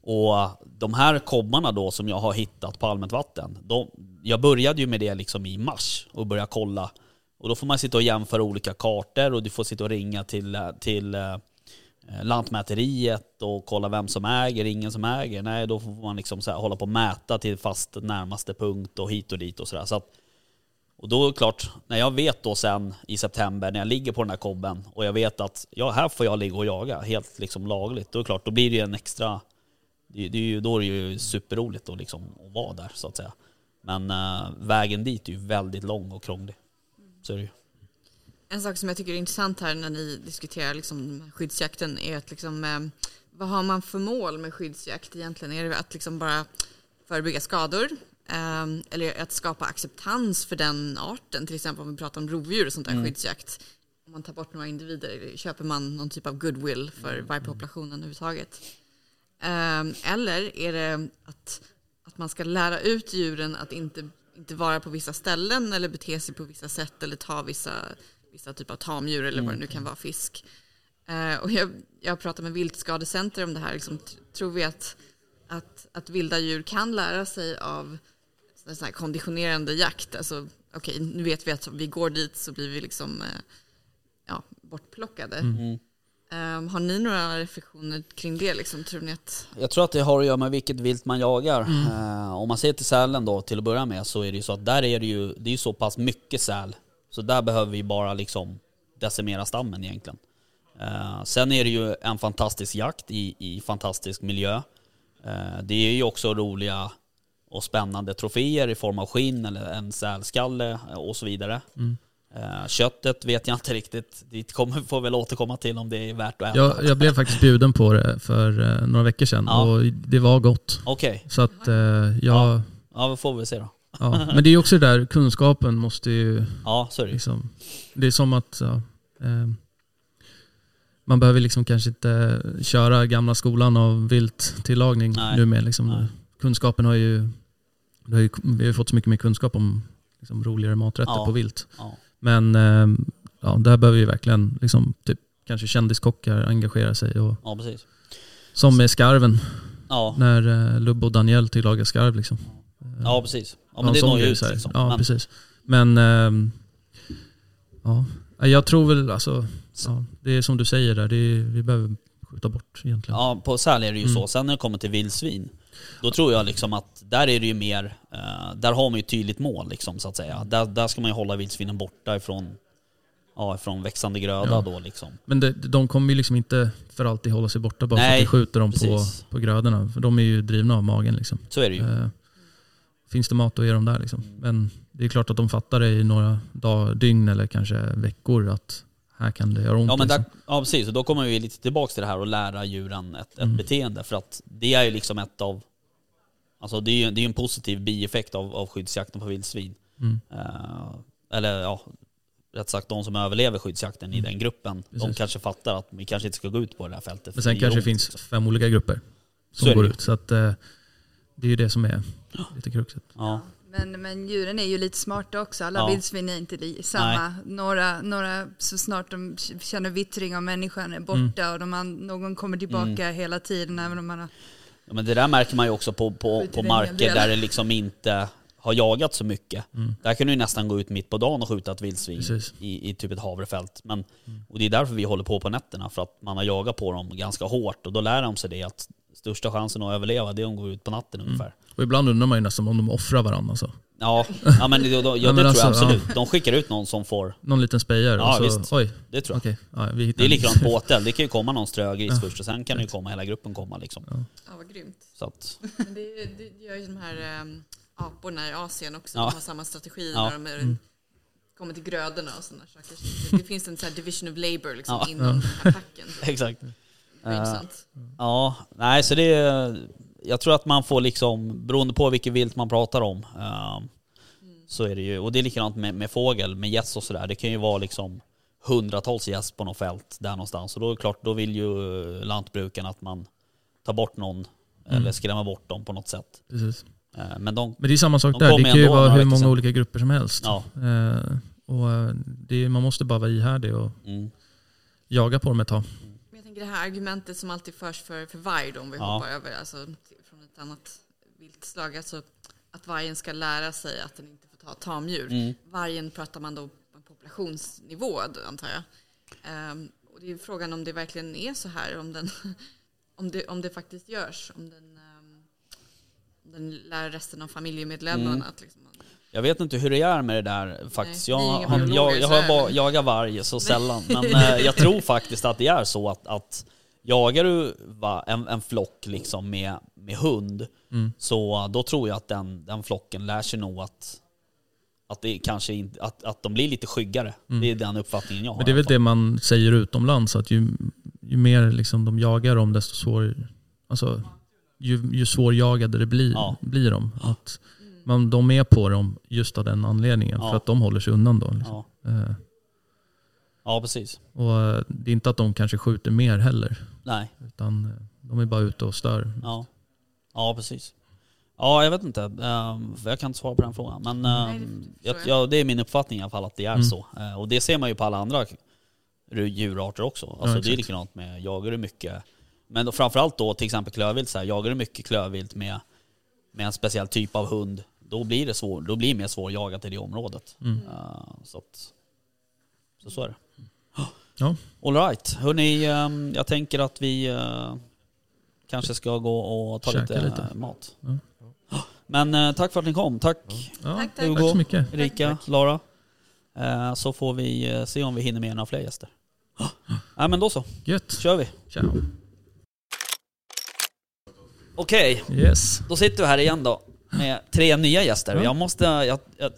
S1: Och de här kobbarna då som jag har hittat på allmänt vatten, de, jag började ju med det liksom i mars och började kolla. Och då får man sitta och jämföra olika kartor och du får sitta och ringa till, eh, till eh, eh, Lantmäteriet och kolla vem som äger, ingen som äger. Nej, då får man liksom så här, hålla på och mäta till fast närmaste punkt och hit och dit och sådär. Så att, och då är det klart, när jag vet då sen i september när jag ligger på den här kobben och jag vet att ja, här får jag ligga och jaga helt liksom lagligt. Då är det klart, då blir det ju en extra, det, det är ju, då är det ju superroligt att liksom att vara där så att säga. Men eh, vägen dit är ju väldigt lång och krånglig. Så är det ju.
S8: En sak som jag tycker är intressant här när ni diskuterar liksom skyddsjakten är att liksom, eh, vad har man för mål med skyddsjakt egentligen? Är det att liksom bara förebygga skador? Eh, eller att skapa acceptans för den arten? Till exempel om vi pratar om rovdjur och sånt
S1: Mm.
S8: där skyddsjakt. Om man tar bort några individer, köper man någon typ av goodwill för vargpopulationen överhuvudtaget? Eh, eller är det att, att man ska lära ut djuren att inte, inte vara på vissa ställen eller bete sig på vissa sätt eller ta vissa, vissa typer av tamdjur eller vad det nu kan vara, fisk. Eh, och jag, jag pratade med Viltskadecenter om det här. Liksom, tr- tror vi att, att, att vilda djur kan lära sig av sån sån här konditionerande jakt? Alltså, okej, nu vet vi att vi går dit så blir vi liksom eh, ja, bortplockade. Eh, har ni några reflektioner kring det? Liksom? Tror ni att
S1: Jag tror att det har att göra med vilket vilt man jagar.
S5: Mm.
S1: Eh, om man ser till sälen då till att börja med så är det ju så att där är det ju, det är ju så pass mycket säl. Så där behöver vi bara liksom decimera stammen egentligen. Eh, sen är det ju en fantastisk jakt i, i fantastisk miljö. Eh, det är ju också roliga och spännande troféer i form av skinn eller en sälskalle eh, och så vidare.
S5: Mm.
S1: Eh, köttet vet jag inte riktigt. Det kommer, får väl återkomma till om det är värt att äta.
S5: Jag, jag blev faktiskt bjuden på det för eh, några veckor sedan
S1: Ja.
S5: och det var gott.
S1: Okej,
S5: Så att eh, jag,
S1: Ja.
S5: ja.
S1: ja, vad får vi se då.
S5: Men det är ju också det där, kunskapen måste ju
S1: Ja, så är det ju.
S5: liksom, det är som att ja, eh, man behöver liksom kanske inte köra gamla skolan av vilttillagning
S1: Nej.
S5: nu med liksom.
S1: Nej.
S5: Kunskapen har ju, det har ju, vi har ju fått så mycket mer kunskap om liksom, roligare maträtter
S1: Ja.
S5: på vilt.
S1: Ja.
S5: Men eh, ja, där behöver ju verkligen liksom, typ, kanske kändiskockar engagera sig. Och,
S1: Ja, precis.
S5: som med skarven,
S1: Ja,
S5: när eh, Lubbe och Daniel tillagar skarv. Liksom.
S1: ja precis. Ja,
S5: Ja,
S1: men det
S5: sån
S1: når ju
S5: grej
S1: ut
S5: så här.
S1: liksom.
S5: Ja,
S1: men,
S5: precis. Men ehm, ja, Nej, jag tror väl alltså, ja, det är som du säger där, det är, vi behöver skjuta bort egentligen.
S1: ja, på säl är det ju
S5: Mm.
S1: så. Sen när det kommer till vildsvin, då tror jag liksom att där är det ju mer, eh, där har man ju ett tydligt mål liksom så att säga. Där, där ska man ju hålla vildsvinen borta ifrån, ja, ifrån växande gröda
S5: Ja.
S1: då liksom.
S5: Men det, de kommer ju liksom inte för alltid hålla sig borta bara för
S1: Nej,
S5: att vi skjuter dem på,
S1: precis.
S5: på grödorna. För de är ju drivna av magen liksom.
S1: Så är det ju.
S5: Eh, finns det mat att ge dem där liksom. Men det är klart att de fattar det i några dag, dygn eller kanske veckor att här kan det göra ont.
S1: Ja, men där,
S5: liksom.
S1: ja precis, och då kommer vi lite tillbaka till det här och lära djuren ett, ett
S5: Mm.
S1: beteende. För att det är ju liksom ett av, alltså det är ju det är ju en positiv bieffekt av, av skyddsjakten på vildsvin.
S5: Mm.
S1: Eh, eller ja, rätt sagt de som överlever skyddsjakten i den gruppen, de
S5: Mm. Precis.
S1: kanske fattar att vi kanske inte ska gå ut på det här fältet. för
S5: Men sen
S1: gör
S5: kanske det
S1: ont,
S5: finns
S1: liksom.
S5: fem olika grupper
S1: Så
S5: som
S1: är det
S5: går
S1: ju.
S5: ut. Så att, eh, det är ju det som är lite kruxet.
S1: Ja,
S7: Men, men djuren är ju lite smarta också. Alla
S1: Ja.
S7: vildsvin är inte li- samma. Några, några så snart de k- känner vittring av människan är borta och de an, någon kommer tillbaka hela tiden även om man har...
S1: Ja, men det där märker man ju också på, på,
S7: Skjuter
S1: på
S7: en hel
S1: marker
S7: del.
S1: där det liksom inte har jagat så mycket. Där kan du ju nästan gå ut mitt på dagen och skjuta ett vildsvin
S5: Mm. Precis. Mm.
S1: i, i typ ett havrefält. Men, och det är därför vi håller på på nätterna, för att man har jagat på dem ganska hårt. Och då lär de sig det
S5: Mm.
S1: att största chansen att överleva det är om de går ut på natten ungefär.
S5: Och ibland undrar man ju nästan om de offrar varandra. alltså. Så.
S1: Ja, ja men det, då- ja,
S5: men
S1: det tror
S5: alltså,
S1: jag
S5: ja.
S1: absolut. De skickar ut någon som får,
S5: Någon liten spejare
S1: Ja,
S5: och så,
S1: visst.
S5: oj,
S1: det tror jag.
S5: okej. ja, vi hittar
S1: Det är
S5: en.
S1: likadant på hotell, det kan ju komma någon strögris först och sen kan det ju komma, hela gruppen komma liksom.
S8: Ja, vad grymt.
S1: Så att,
S8: Men det, det gör ju de här äm, aporna i Asien också.
S1: Ja.
S8: De har samma strategi
S1: Ja. Mm.
S8: när de är, kommer till grödorna och sådana saker. Så Det finns en sån här division of labor liksom
S1: Ja.
S8: inom den här facken.
S1: exakt. Eh,
S8: Det är intressant.
S1: Ja, nej så det är, jag tror att man får liksom, beroende på vilket vilt man pratar om, eh, så är det ju, och det är likadant med, med fågel, med gäss och sådär, det kan ju vara liksom hundratals gäss på något fält där någonstans och då är det klart, då vill ju lantbrukarna att man tar bort någon eller skrämmer bort dem på något sätt.
S5: Mm. Precis.
S1: Eh, Men de,
S5: Men det är samma sak
S1: De
S5: där,
S1: kommer
S5: det kan ju
S1: ändå
S5: vara
S1: några
S5: hur
S1: veckor
S5: många
S1: sen.
S5: olika grupper som helst.
S1: ja.
S5: Eh, och eh, det är, man måste bara vara ihärdig och
S1: Mm.
S5: jaga på dem ett tag.
S8: Men jag tänker det här argumentet som alltid förs för, för varg då, om vi
S1: Ja.
S8: hoppar över alltså, till- från ett annat viltslag. Alltså, att vargen ska lära sig att den inte får ta tamdjur. Vargen pratar man då på en populationsnivå då, antar jag. Ehm, och det är frågan om det verkligen är så här, om, den, om, det, om det faktiskt görs. Om den, ehm, om den lär resten av familjemedlemmarna att liksom,
S1: Mm. Jag vet inte hur det är med det där faktiskt.
S8: Nej,
S1: jag,
S8: vi är inga
S1: har-
S8: biologer,
S1: jag, jag har
S8: så är
S1: va-
S8: det.
S1: jagat varg så sällan, men eh, jag tror faktiskt att det är så att, att jagar du va, en, en flock liksom med, med hund,
S5: Mm.
S1: så då tror jag att den, den flocken lär sig nog att, att, det kanske inte, att, att de blir lite skyggare. Det är den uppfattningen jag har.
S5: Mm. Men det är
S1: i
S5: väl
S1: alla fall.
S5: det man säger utomlands, att ju, ju mer liksom de jagar dem, desto svår, alltså, ju, ju svårjagade det blir,
S1: Ja.
S5: blir de. Att man, de är på dem just av den anledningen,
S1: Ja.
S5: för att de håller sig undan då. Liksom.
S1: Ja,
S5: Eh,
S1: ja precis.
S5: Och eh, det är inte att de kanske skjuter mer heller,
S1: Nej.
S5: utan eh, de är bara ute och stör.
S1: Ja, ja precis. Ja, jag vet inte. Ehm, för jag kan inte svara på den frågan. Men
S8: det
S1: ehm,
S8: förstår
S1: jag,
S8: jag.
S1: ja, det är min uppfattning i alla fall att det är så. Eh, och det ser man ju på alla andra ru- djurarter också. Alltså, det är
S5: exakt.
S1: likadant med jagar du mycket. Men då, framförallt då till exempel klövvilt. Så här, jagar du mycket klövvilt med, med en speciell typ av hund, då blir det, svår, då blir det mer svårjagat i det området. Eh, så, att, så så är det.
S5: Ja.
S1: All right. Hörrni, ehm, jag tänker att vi eh, kanske ska gå och ta
S5: Käka
S1: lite, eh,
S5: lite.
S1: mat.
S5: Ja.
S1: Men eh, tack för att ni kom. Tack
S5: Ja,
S8: Tack, tack.
S1: Hugo,
S5: tack så mycket.
S1: Erika, Lara. Eh, Så får vi eh, se om vi hinner med några fler gäster. Ja, men då så,
S5: Gött.
S1: kör vi.
S5: Ciao.
S1: Okej,
S5: Yes.
S1: då sitter vi här igen då med tre nya gäster.
S5: Ja.
S1: Jag måste, jag, jag,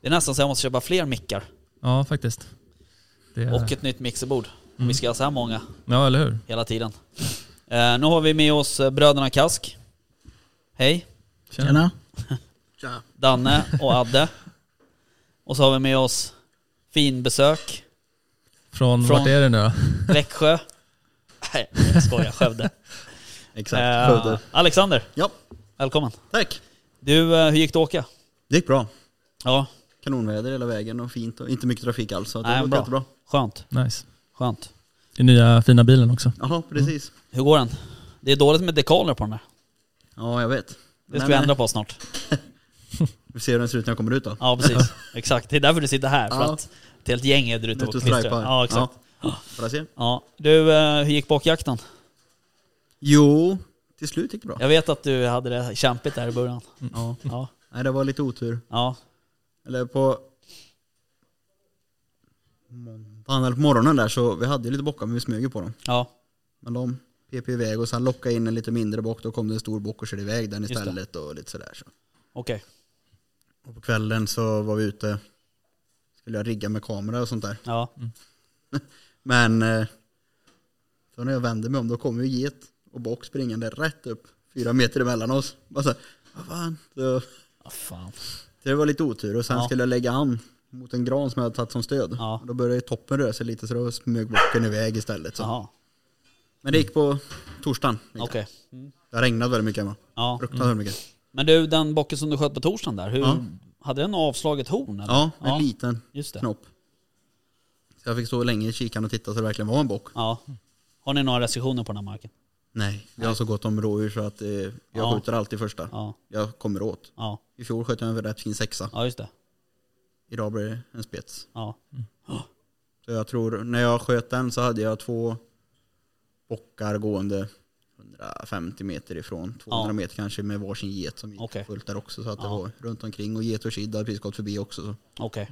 S1: det är nästan så jag måste köpa fler mickar
S5: Ja, faktiskt. Det är,
S1: och ett nytt mixerbord. Om vi ska ha så här många
S5: Ja, eller hur?
S1: hela tiden. Eh, Nu har vi med oss eh, bröderna Kask. Hej.
S2: Tjena.
S1: Danne och Adde. Och så har vi med oss finbesök,
S5: Från,
S1: Från-
S5: vart är det nu då?
S1: Växjö. Nej, jag skojar, Skövde.
S2: Exakt,
S1: Eh,
S2: Skövde.
S1: Alexander,
S10: Ja,
S1: välkommen.
S10: tack.
S1: Du, eh, hur gick det att åka?
S10: Det gick bra.
S1: Ja,
S10: Kanonväder hela vägen och fint och inte mycket trafik alls. Så att
S1: Nej,
S10: det var
S1: bra.
S10: jättebra.
S1: skönt.
S5: Nice.
S1: Skönt. Mm.
S5: I nya fina bilen också.
S10: Ja, precis.
S1: Hur går den? Det är dåligt med dekaler på den där.
S10: Ja, jag vet.
S1: Det
S10: Nej,
S1: ska vi
S10: men eh,
S1: ändra på snart.
S10: Vi får se hur den ser ut när jag kommer ut då.
S1: Ja, precis. Exakt. Det är därför du sitter här. För
S10: Ja.
S1: att ett helt gäng är där ute
S10: Ut och
S1: och knistrar.
S10: stripar.
S1: Ja, exakt.
S10: Ja. Får jag se?
S1: Ja. Du, eh, hur gick bockjakten?
S10: Jo, till slut gick det bra.
S1: Jag vet att du hade det kämpigt där i början.
S10: Mm. Ja.
S1: Ja,
S10: Nej, det var lite otur.
S1: ja.
S10: Eller på måndagen eller på morgonen där så vi hade ju lite bockar men vi smög ju på dem.
S1: ja.
S10: Men de pep iväg och sen lockade in en lite mindre bock. Då kom det en stor bock och körde iväg den
S1: det.
S10: istället och lite sådär. Så.
S1: okej.
S10: Och på kvällen så var vi ute. Skulle jag rigga med kamera och sånt där.
S1: Ja.
S10: Men eh, så när jag vände mig om då kom ju get och bock springande rätt upp fyra meter emellan oss. Bara så här, vad fan. Så,
S1: Ah, fan.
S10: det var lite otur och sen
S1: Ja.
S10: skulle jag lägga an mot en gran som jag hade tagit som stöd.
S1: Ja.
S10: Och Då började ju toppen röra sig lite så då smög bocken iväg istället. Så.
S1: Jaha,
S10: Men det gick på torsdagen.
S1: okej.
S10: Det har regnat väldigt mycket hemma.
S1: Ja. Mm.
S10: Fruktansvärt mycket.
S1: Men du, den bocken som du sköt på torsdagen där, hur,
S10: Ja.
S1: hade den avslaget horn? Eller?
S10: Ja, en liten
S1: Mm. Just det.
S10: knopp. Så jag fick stå länge i kikaren och titta så det verkligen var en bock.
S1: Ja. Har ni några restriktioner på den här marken?
S10: Nej, vi har så gott om rådjur så att eh, jag
S1: Ja.
S10: skjuter alltid första.
S1: Ja.
S10: Jag kommer åt.
S1: Ja,
S10: I fjol sköt jag en rätt fin sexa.
S1: ja just det.
S10: Idag blir det en spets.
S1: Ja.
S10: Mm. Så jag tror, när jag sköt den så hade jag två bockar gående 150 meter ifrån, 200
S1: Ja.
S10: meter kanske med varsin get som gick
S1: Okej.
S10: fullt där också. Så att det
S1: Ja.
S10: var runt omkring och get och kid hade precis gått förbi också. Så,
S1: Okej.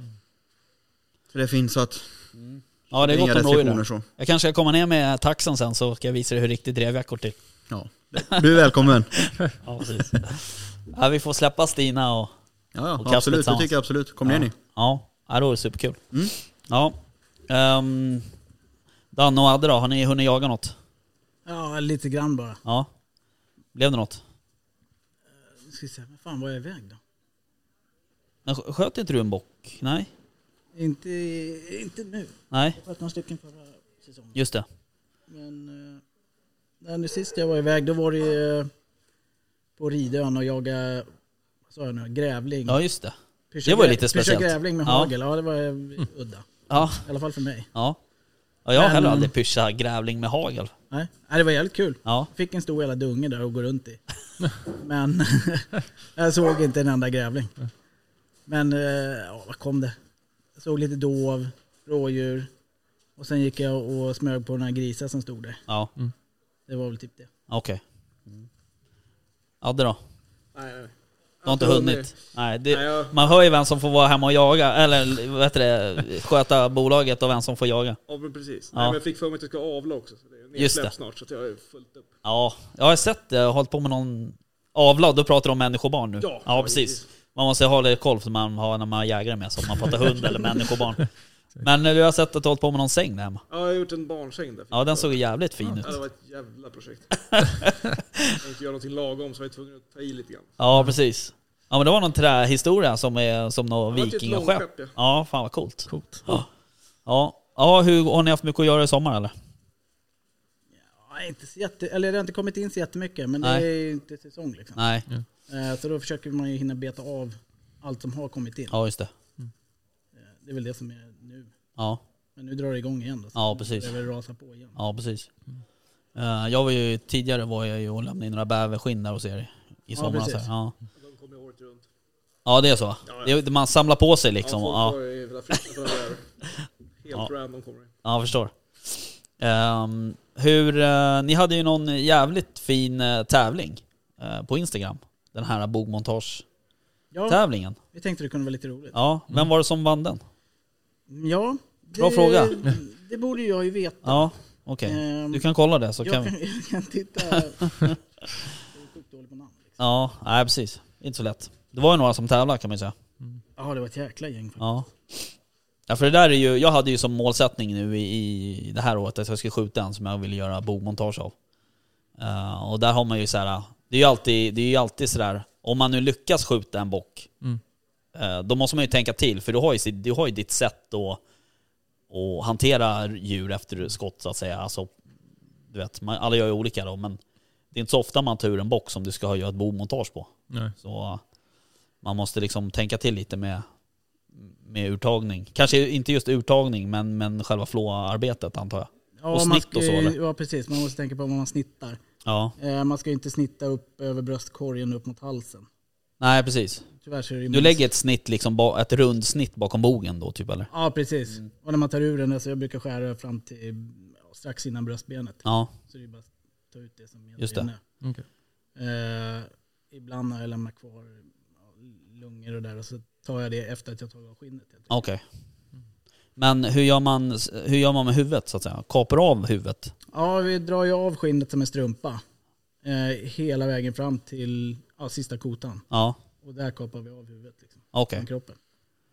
S10: så det finns så att
S1: Mm. Ja det är
S10: inga
S1: gott om rådjur
S10: restriktioner så.
S1: där. Jag kanske ska komma ner med taxen sen så ska jag visa dig hur riktigt drevjakt går till.
S10: Ja. Du är välkommen.
S1: Ja precis. ja, vi får släppa Stina och...
S10: Ja,
S1: Och
S10: ja absolut. Det
S1: tillsammans.
S10: tycker jag absolut. Kom ner ni.
S1: Ja, ja då är det superkul.
S10: Mm.
S1: Ja. Um, Danne och Adde då, har ni hunnit jaga något?
S11: Ja, lite grann bara.
S1: Ja. Blev det något?
S11: Nu ska vi se, vad fan var jag iväg då?
S1: Men sk- sköt inte du en bock? Nej?
S11: Inte, inte nu.
S1: Nej?
S11: Jag har några stycken förra säsongen.
S1: Just det.
S11: Men eh, när nu sist jag var iväg då var det ju, eh, på Ridön och jaga, vad sa jag nu, grävling.
S1: Ja just det.
S11: Pyscha
S1: det var ju
S11: grä-
S1: lite
S11: pyscha
S1: speciellt.
S11: grävling med
S1: Ja. Mm.
S11: hagel, ja det var eh, udda.
S1: Ja.
S11: I alla fall för mig.
S1: Ja. ja jag har
S11: Men-
S1: heller aldrig pyschat grävling med hagel.
S11: Nej. Nej, det var jävligt kul.
S1: Ja.
S11: Fick en stor jävla dunge där och gå runt i. Men jag såg inte en enda grävling. Men eh, ja, vad kom det? Jag såg lite dov, rådjur och sen gick jag och smög på några grisar som stod där.
S1: Ja.
S10: Mm.
S11: Det var väl typ det.
S1: Okej. Adde då?
S2: Nej, nej.
S1: Du har inte
S2: Jag tror
S1: hunnit? Nej, det,
S2: Nej, jag-
S1: man hör ju vem som får vara hemma och jaga, eller vad heter det, sköta bolaget och vem som får jaga.
S12: Ja men precis.
S1: Ja.
S12: Nej, men jag fick för mig att jag ska avla också. Så det är
S1: Just
S12: nedsläpp
S1: det.
S12: snart så att jag är fullt upp.
S1: Ja, jag har sett det. Jag har hållit på med någon avlad. Då pratar du om människobarn nu.
S12: Ja,
S1: ja precis. Man måste ha lite koll som man har när man har jägare med sig. Om man pratar hund eller människobarn. Men eh, du har sett att du har hållit på med någon säng där hemma.
S12: Ja, jag har gjort en barnsäng där.
S1: Ja, den såg jävligt fin ut.
S12: Ja, det var ett jävla projekt. jag tänkte göra någonting lagom så jag var tvungen att ta i lite grann.
S1: Ja, precis. Ja, men det var någon trähistoria som är som någon
S12: Ja, det var ett
S1: vikingaskepp.
S12: långskepp, ja.
S1: Ja, fan vad coolt. coolt. Ja. Ja. ja, hur har ni haft mycket att göra i sommar eller?
S11: Ja, inte så jätte, eller det har inte kommit in så jättemycket men
S1: Nej.
S11: det är ju inte säsong liksom.
S1: Nej.
S12: Mm.
S11: Eh, Så då försöker man ju hinna beta av allt som har kommit in.
S1: Ja, just det.
S11: Det är väl det som är nu.
S1: Ja.
S11: Men nu drar det igång igen då. så
S1: Ja,
S11: nu
S1: precis.
S11: börjar Det rasa på igen. Mm.
S1: Ja, precis. Eh, jag var ju, tidigare var jag ju och lämnade in några bäverskinn där hos er i
S12: Ja,
S1: somras.
S12: precis.
S1: här. ja.
S12: De kommer ju året runt.
S1: ja, det är så.
S12: Ja,
S1: Det är- man samlar på sig liksom.
S12: Ja,
S1: Ja,
S12: folk har ju velat flytta på det där.
S1: Ja.
S12: Helt random kommer det.
S1: ja jag förstår. Ehm, hur, eh, ni hade ju någon jävligt fin eh, tävling eh, på Instagram. Den här bogmontage-tävlingen.
S11: Ja, Vi tänkte det kunde vara lite roligt.
S1: Ja, vem var det som vann den?
S11: Ja. Det,
S1: Bra fråga.
S11: Det borde jag ju veta.
S1: Ja, okej.
S11: Ehm,
S1: Du kan kolla det så
S11: jag
S1: kan vi.
S11: kan, jag kan titta. Jag är sjukt dålig på namn. liksom.
S1: Ja, nej precis. Inte så lätt. Det var ju några som tävlade kan man ju säga.
S11: Ja, det var ett jäkla gäng faktiskt.
S1: Ja. Ja för det där är ju, jag hade ju som målsättning nu i, i det här året att jag skulle skjuta en som jag ville göra bogmontage av. Eh, och där har man ju så här, det är ju alltid, det är ju alltid sådär, om man nu lyckas skjuta en bock,
S5: Mm.
S1: eh, då måste man ju tänka till för du har ju, sitt- du har ju ditt sätt att, att hantera djur efter skott så att säga. Alltså, du vet, man, alla gör ju olika då men det är inte så ofta man tar ur en bock som du ska göra ett bogmontage på.
S5: Nej.
S1: Så eh, man måste liksom tänka till lite med, med urtagning. Kanske inte just urtagning, men, men själva flåarbetet antar jag.
S11: Ja,
S1: och
S11: man
S1: snitt
S11: ska
S1: och så
S11: ju-
S1: eller?
S11: Ja, precis. Man måste tänka på vad man snittar.
S1: Ja.
S11: Eh, Man ska ju inte snitta upp över bröstkorgen upp mot halsen.
S1: Nej, precis.
S11: Tyvärr så är det ju
S1: Du lägger ett snitt, liksom, ba- ett rundsnitt bakom bogen då typ eller?
S11: Ja, precis.
S12: Mm.
S11: Och när man tar ur den, alltså jag brukar skära fram till ja, strax innan bröstbenet.
S1: Ja,
S11: Så det är bara att ta ut det som egentligen
S1: Just det.
S11: är.
S5: Okej.
S11: Eh, ibland har jag lämnat kvar ja, lungor och där och så tar jag det efter att jag tagit av skinnet. helt enkelt.
S1: okej. Men hur gör, man, hur gör man med huvudet så att säga? Kapar av huvudet?
S11: Ja, vi drar ju av skinnet som en strumpa. Eh, hela vägen fram till ja, sista kotan.
S1: Ja,
S11: Och där kapar vi av huvudet liksom,
S1: okej.
S11: från kroppen.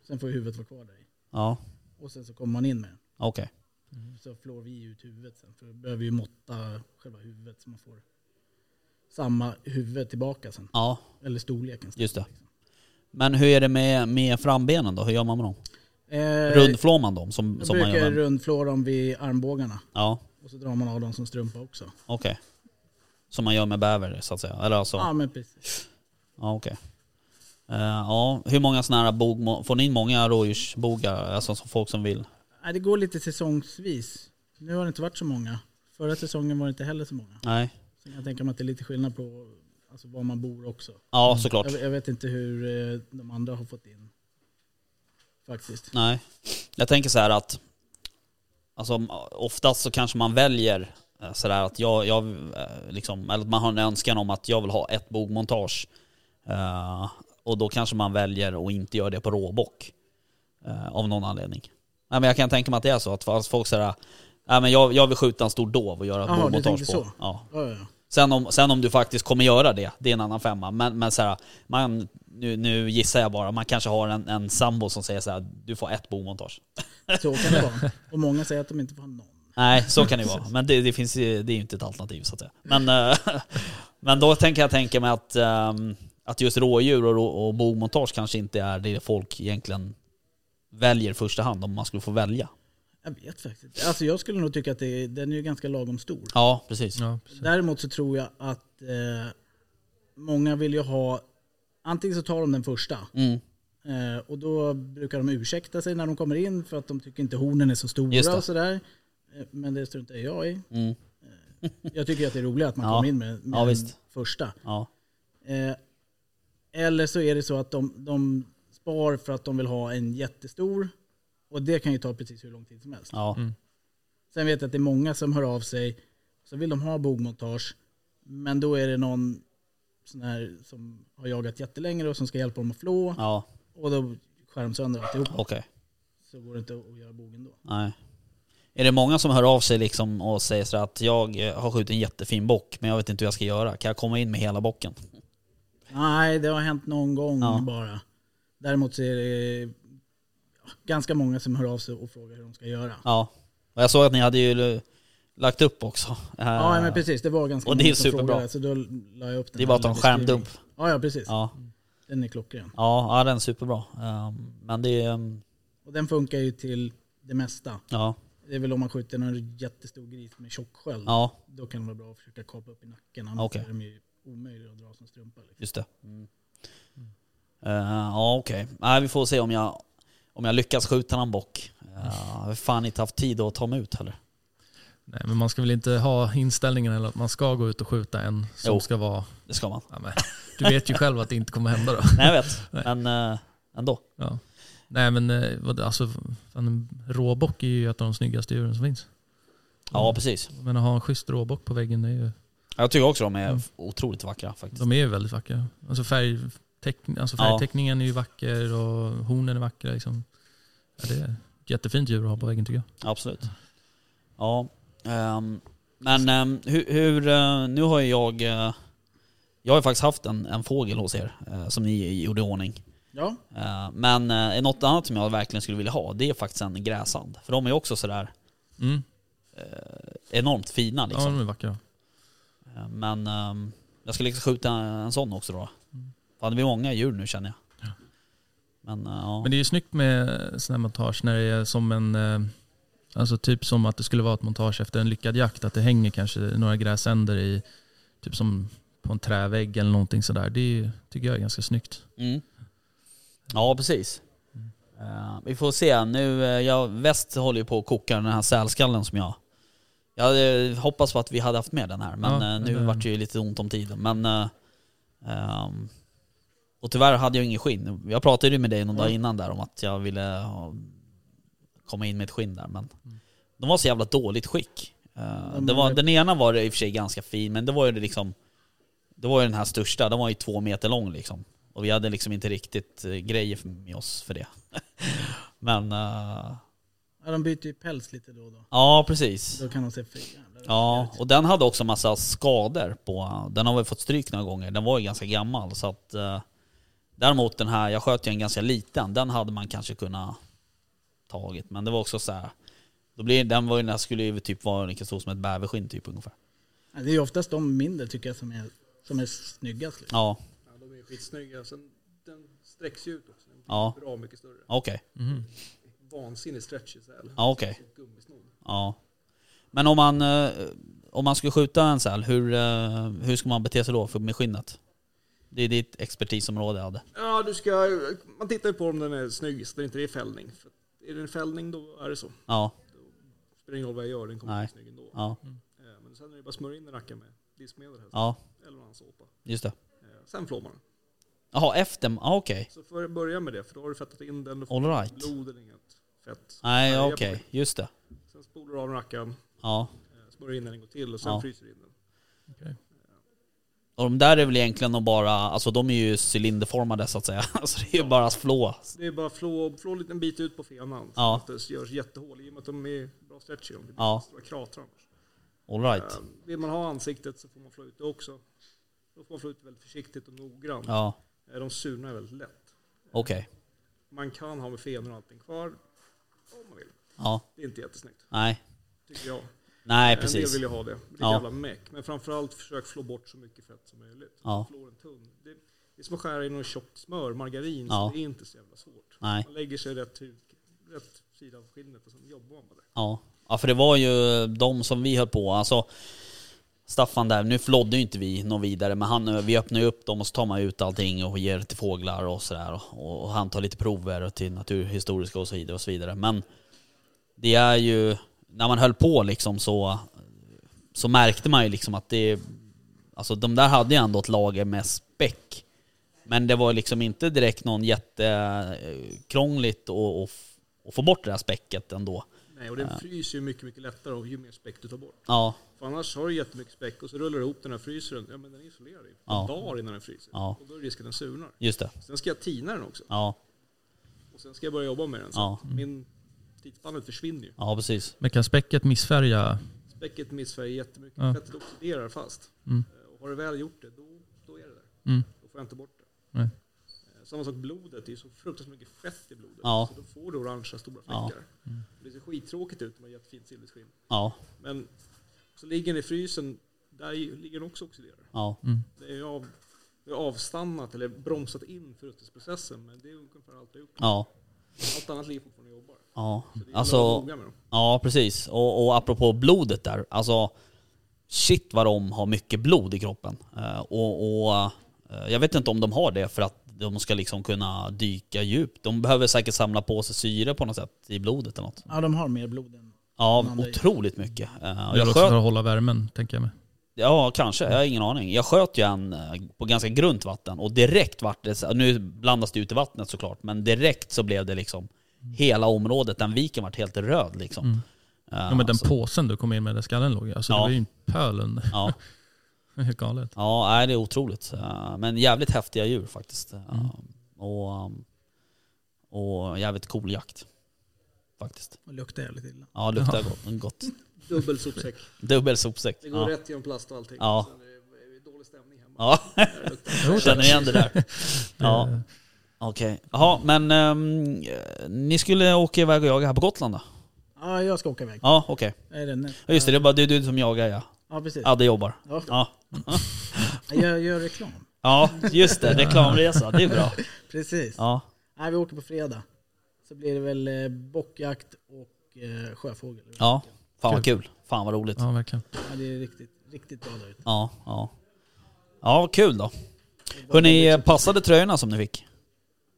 S11: Sen får huvudet vara kvar där i.
S1: Ja,
S11: Och sen så kommer man in med den.
S1: okej. Mm.
S11: Så flår vi ut huvudet sen. För vi behöver ju måtta själva huvudet så man får samma huvud tillbaka sen.
S1: Ja,
S11: Eller storleken.
S1: just det. Men hur är det med, med frambenen då? Hur gör man med dem?
S11: Eh,
S1: Rundflår man dem som,
S11: Jag
S1: som man
S11: brukar
S1: gör med?
S11: rundflå dem vid armbågarna.
S1: Ja,
S11: Och så drar man av dem som strumpa också.
S1: okej. Som man gör med bäver så att säga? Eller alltså?
S11: Ja, men precis.
S1: Ja, okej. Eh, ja, hur många sådana här bog, får ni in många rådjursbogar, alltså som folk som vill?
S11: Nej, det går lite säsongsvis. Nu har det inte varit så många. Förra säsongen var det inte heller så många.
S1: Nej.
S11: Sen kan jag tänka mig att det är lite skillnad på alltså, var man bor också.
S1: Ja, såklart.
S11: Jag, jag vet inte hur eh, de andra har fått in. Faktiskt.
S1: Nej. Jag tänker så här att, alltså oftast så kanske man väljer Eh, Sådär att jag, jag eh, liksom, eller att man har en önskan om att jag vill ha ett bogmontage. Eh, och då kanske man väljer att inte göra det på råbock. Eh, av någon anledning. Nej, men jag kan tänka mig att det är så. Att fast folk säger Nej, men jag, jag vill skjuta en stor dov och göra ett
S11: Jaha, du
S1: bogmontage på.
S11: tänker så.
S1: Ja.
S11: Ja, ja, ja.
S1: Sen, om, sen om du faktiskt kommer göra det, det är en annan femma. Men, men så här, man, nu, nu gissar jag bara, man kanske har en, en sambo som säger så här, du får ett bogmontage.
S11: Så kan det vara. Och många säger att de inte får ha någon.
S1: Nej, så kan det ju vara. Men det, det, finns, ju- det är ju inte ett alternativ så att säga. Men, eh, men då tänker jag tänka mig att, ehm, att just rådjur och, rå- och bogmontage kanske inte är det folk egentligen väljer i första hand om man skulle få välja.
S11: Jag vet faktiskt inte. Alltså jag skulle nog tycka att det, är- den är ju ganska lagom stor.
S1: Ja, precis. Ja,
S11: Däremot så tror jag att eh, många vill ju ha, antingen så tar de den första
S1: Mm.
S11: eh, och då brukar de ursäkta sig när de kommer in för att de tycker inte hornen är så
S1: Just
S11: stora
S1: det.
S11: och sådär. Eh, Men det struntar jag i.
S1: Mm.
S11: Eh, Jag tycker att det är roligt att man
S1: Ja.
S11: kommer in med, med
S1: Ja,
S11: den
S1: visst.
S11: första.
S1: Ja.
S11: Eh, eller så är det så att de, de spar för att de vill ha en jättestor och det kan ju ta precis hur lång tid som helst.
S1: Ja. Mm.
S11: Sen vet jag att det är många som hör av sig så vill de ha bogmontage men då är det någon sån här som har jagat jättelänge och som ska hjälpa dem att flå
S1: Ja.
S11: och då skär de sönder alltihop.
S1: Okej.
S11: Så går det inte att göra bogen då.
S1: Nej. Är det många som hör av sig liksom och säger så här att jag eh, har skjutit en jättefin bock men jag vet inte hur jag ska göra. Kan jag komma in med hela bocken?
S11: Nej, det har hänt någon gång
S1: Ja.
S11: bara. Däremot så är det ja, ganska många som hör av sig och frågar hur de ska göra.
S1: Ja. Och jag såg att ni hade ju eh, lagt upp också. Eh,
S11: Ja, men precis. Det var ganska
S1: Och det är
S11: många som
S1: superbra.
S11: frågade, så då la jag upp den
S1: Det är bara
S11: här
S1: att ta en
S11: lilla
S1: skärmdump.
S11: beskrivningen. Ja, ja, precis.
S1: Ja.
S11: Den är klockren.
S1: Ja, ja den är superbra. Ehm, men det är... ehm,
S11: Och den funkar ju till det mesta.
S1: Ja.
S11: Det är väl om man skjuter en jättestor gris med tjock sköld.
S1: Ja.
S11: Då kan det vara bra att försöka kapa upp i nacken. Annars
S1: Okej.
S11: är de ju omöjliga att dra som strumpa. Liksom.
S1: Just det. Mm. Eh, ja, okej. Nej, vi får se om jag, om jag lyckas skjuta någon bock. Eh, Jag har fan inte haft tid att ta mig ut heller.
S5: Nej, men man ska väl inte ha inställningen heller att man ska gå ut och skjuta en som
S1: Jo,
S5: ska vara...
S1: det ska man.
S5: Ja, men, du vet ju själv att det inte kommer hända då.
S1: Nej, jag vet. Men eh, ändå.
S5: Ja. Nej men eh, vad- alltså, fan, en råbock är ju ett av de snyggaste djuren som finns.
S1: Ja, precis.
S5: Men att ha en schysst råbock på väggen, det är ju,
S1: Jag tycker också de är
S5: Mm.
S1: otroligt vackra faktiskt.
S5: de är ju väldigt vackra. Alltså, färg, teck, alltså
S1: Ja.
S5: färgteckningen är ju vacker och hornen är vackra. Liksom. Ja, det är ett jättefint djur att ha på väggen tycker jag.
S1: Absolut. Ja. ehm, men ehm, hur, hur eh, nu har ju jag, eh, jag har ju faktiskt haft en, en fågel hos er eh, som ni gjorde i ordning.
S11: Ja.
S1: Eh, men uh, något annat som jag verkligen skulle vilja ha, det är faktiskt en gräsand. För de är ju också sådär
S5: Mm.
S1: eh, enormt fina liksom.
S5: Ja, de är vackra.
S1: Eh, Men ehm, jag ska liksom skjuta en sån också då.
S5: Mm.
S1: Fan, det blir många djur nu känner jag. Men eh, ja.
S5: Men det är ju snyggt med sådana här montage när det är som en, eh, alltså typ som att det skulle vara ett montage efter en lyckad jakt, att det hänger kanske några gräsänder i, typ som på en trävägg eller någonting sådär. Det är, ju- tycker jag är ganska snyggt.
S1: Mm. Ja, precis. Eh, vi får se. Nu, eh, jag, väst håller ju på att koka den här sälskallen som jag... Jag hade hoppas på att vi hade haft med den här, men
S5: Ja,
S1: eh, nu
S5: det-
S1: vart det ju lite ont om tiden. Men, eh, ehm, och tyvärr hade jag ingen skinn. Jag pratade ju med dig någon dag innan där om att jag ville ha, komma in med ett skinn där, men de var så jävla dåligt skick. Eh,
S11: De
S1: det var,
S11: är-
S1: den ena var i och för sig ganska fin, men det var ju det liksom... Det var ju den här största, den var ju två meter lång liksom. Och vi hade liksom inte riktigt eh, grejer med oss för det. Men, eh,
S11: Ja, de byter ju päls lite då och då.
S1: ja precis.
S11: Då kan de se för jävla
S1: Ja, och den hade också massa skador på, den har väl fått stryk några gånger, den var ju ganska gammal så att eh, Däremot den här, jag sköt ju en ganska liten, den hade man kanske kunnat tagit men det var också så här. Då blir, den var ju, den här skulle ju typ vara lika stor som ett bäverskinn typ ungefär.
S11: Ja, Det är ju oftast de mindre tycker jag som är, som är snyggast. Liksom.
S1: Ja,
S12: Ja, de är ju skitsnygga. Sen, den sträcks ju ut också. Den blir
S1: Ja.
S12: Bra mycket större.
S1: Okej.
S5: Mhm.
S12: Vansinnig stretch i sälen.
S1: Ja, okej.
S12: Gummisnodd.
S1: Ja. Men om man, eh, om man skulle skjuta en säl, hur, eh, hur ska man bete sig då för med skinnet? Det är ditt expertisområde jag hade.
S12: Ja, du ska, man tittar ju på om den är snygg, så det inte är fällning. För är det en fällning då är det så.
S1: Ja.
S12: Då spelar ingen roll vad jag gör, den kommer
S1: Nej.
S12: bli snygg ändå.
S1: Ja.
S12: Eh, Men sen är det bara att smörja in den rackaren med diskmedel helst.
S1: Ja.
S12: Eller någon annan såpa.
S1: Just det.
S12: Eh, Sen flår man den.
S1: Jaha, efter? Ah, Okej.
S12: Så för börja med det, för då har du fettat in den. Då får
S1: All
S12: du
S1: right.
S12: blod eller inget fett.
S1: Nej,
S12: färga på
S1: okej.
S12: det.
S1: Just det.
S12: Sen spolar du av rackaren.
S1: Ja.
S12: eh, smörjer in den en gång till och sen
S1: Ja.
S12: fryser du in den.
S1: Och de där är väl egentligen att bara, alltså de är ju cylinderformade så att säga. Alltså det är ju bara att flå.
S12: Det är bara flå, flå en liten bit ut på fenan.
S1: Ja.
S12: Så att det görs jättehål i och med att de är bra stretchy. De blir
S1: Ja.
S12: stora kratrar annars.
S1: All right.
S12: Eh, Vill man ha ansiktet så får man flå ut det också. Då får man flå ut det väldigt försiktigt och noggrant.
S1: Ja.
S12: Eh, De surnar väldigt lätt.
S1: Okej.
S12: Man kan ha med fenor och allting kvar. Om man vill.
S1: Ja.
S12: Det är inte jättesnyggt.
S1: Nej.
S12: Tycker jag.
S1: Nej,
S12: Eh, En
S1: precis.
S12: del vill ju ha det. Det är
S1: Ja.
S12: jävla meck. Men framförallt försök flå bort så mycket fett som möjligt.
S1: Ja.
S12: Flå den tunn. Det, det är som att skära i något tjockt smör, margarin.
S1: Ja.
S12: Så det är inte så jävla svårt.
S1: Nej.
S12: Man lägger sig rätt, huk, rätt sida av skinnet och sen jobbar man med det.
S1: Ja. ja, för det var ju de som vi höll på, alltså Staffan där, nu flodde ju inte vi någon vidare men han, vi öppnar ju upp dem och så tar man ut allting och ger till fåglar och sådär och, och han tar lite prover och till naturhistoriska och så vidare och så vidare men det är ju, när man höll på liksom så så märkte man ju liksom att det, alltså de där hade ju ändå ett lager med späck men det var liksom inte direkt någon jättekrångligt att, att, att få bort det här späcket ändå.
S12: Nej, och den
S1: Eh,
S12: fryser ju mycket, mycket lättare och ju mer späck du tar bort.
S1: Ja.
S12: För annars har du jättemycket späck och så rullar du ihop den här fryseren. Ja, men den isolerar ju.
S1: Ja.
S12: Ja. Dagar innan den fryser.
S1: Ja.
S12: Och då är risken att den surnar.
S1: Just det.
S12: Sen ska jag tina den också.
S1: Ja,
S12: Och sen ska jag börja jobba med den. Så
S1: Ja.
S12: att min tidsspannet försvinner ju.
S1: ja precis.
S5: Men kan späcket missfärga?
S12: Späcket missfärgar jättemycket.
S5: Ja.
S12: Fettet oxiderar fast.
S5: Mm.
S12: Eh, Och har du väl gjort det, då, då är det där.
S5: Mm.
S12: Då får jag inte bort det.
S5: Nej.
S12: Eh, Samma sak blodet, det är så fruktansvärt mycket fett i blodet.
S1: Ja.
S12: Så då får du orangea stora
S1: Ja.
S12: fläckar.
S5: Mm.
S12: Det ser skittråkigt ut med jättefint silvrigt skinn.
S1: Ja.
S12: Men så ligger den i frysen, där ju- ligger den också oxiderad.
S1: Ja.
S5: Mm.
S12: Det är ju av, det är avstannat eller bromsat in förruttningsprocessen, men det är ungefär allt jag gjort.
S1: Ja.
S12: Allt annat ligger fortfarande och jobbar.
S1: Ja,
S12: Så det gäller att vara
S1: alltså,
S12: noga med dem.
S1: ja precis. Och, och apropå blodet där, alltså shit vad de har mycket blod i kroppen. Eh, och och eh, jag vet inte om de har det för att de ska liksom kunna dyka djupt. De behöver säkert samla på sig syre på något sätt i blodet eller något.
S11: Ja, de har mer blod än...
S1: Ja, otroligt mycket. Eh, och
S5: Jag
S1: jag
S5: också för
S1: sköt,
S5: att hålla värmen, tänker jag mig.
S1: ja, kanske. Jag har ingen aning. Jag sköt ju en eh, på ganska grunt vatten och direkt vart det, så- nu blandas det ut i vattnet såklart, men direkt så blev det liksom hela området, den viken vart helt röd liksom.
S5: Mm.
S1: Eh,
S5: Ja, men den
S1: så-
S5: påsen du kom in med där skallen låg i, alltså
S1: Ja.
S5: det var ju en pöl under.
S1: Ja.
S5: Helt galet.
S1: Ja, nej, det är otroligt. Eh, Men jävligt häftiga djur faktiskt.
S5: Mm.
S1: Eh, Och, um, och jävligt cool jakt. Faktiskt.
S11: Och luktar jävligt illa.
S1: Ja, det luktar
S11: Ja.
S1: gott. gott.
S12: Dubbel sopsäck.
S1: Dubbel sopsäck.
S12: Det går
S1: ja.
S12: rätt genom plast och allting.
S1: Ja.
S12: Sen är det- är det dålig stämning hemma.
S1: Ja,
S12: Det luktar-
S1: jag känner igen det där. Ja.
S12: Det-
S1: Okej. Jaha, men ehm, ni skulle åka iväg och jaga här på Gotland då?
S11: Ja, jag ska åka iväg.
S1: Ja, okej.
S11: Är det nu?
S1: Ja, Just det, det är bara du, du som jagar ja.
S11: Ja, precis.
S1: Ja, det jobbar.
S11: Ja.
S1: Ja.
S11: Jag gör reklam.
S1: Ja, just det. Reklamresa. Det är bra.
S11: Precis.
S1: Ja.
S11: Nej, vi åker på fredag. Så blir det väl eh, bockjakt och eh, sjöfågel.
S1: Ja, fan vad kul. Fan vad roligt.
S5: Ja, verkligen.
S11: Ja, det är riktigt, riktigt bra där ute.
S1: Ja, ja. Ja, kul då. Hörrni, passade tröjorna som ni fick?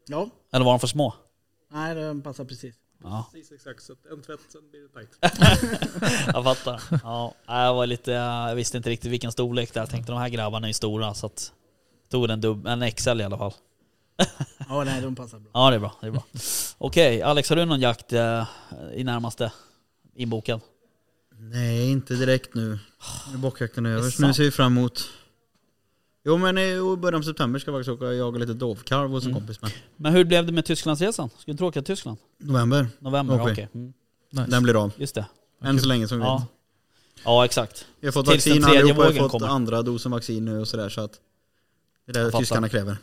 S11: Ja.
S1: Eller var de för små?
S11: Nej, den passar precis.
S1: Ja.
S12: Precis exakt, så att en tvätt sen blir det tajt.
S1: jag fattar. Ja, jag, var lite, jag visste inte riktigt vilken storlek det är. Jag tänkte de här grabbarna är ju stora så att tog en, dubb, en XL i alla fall.
S11: Ja, nej, de passar bra.
S1: Ja, det är bra. Det är bra. Okej, Alex, har du någon jakt eh, i närmaste inbokad?
S10: Nej, inte direkt nu. Nu är bockjakten över, så
S1: sant.
S10: nu ser vi fram emot... Jo men i i början av september ska jag faktiskt åka och jaga lite dovkarv hos en
S1: Mm.
S10: kompis med.
S1: Men hur blev det med Tysklandsresan? Skulle du inte åka till Tyskland?
S10: November.
S1: November,
S10: Åker
S1: okej.
S10: vi.
S1: Mm.
S10: Den blir av.
S1: Just det.
S10: Än så länge som vi
S1: ja.
S10: vet.
S1: Ja, exakt.
S10: Vi har fått
S1: Tills den
S10: vaccin
S1: tredje
S10: allihopa, vi
S1: vågen
S10: har fått
S1: kommer.
S10: andra dosen vaccin nu och sådär så att... Det är det
S1: Jag fattar.
S10: tyskarna kräver.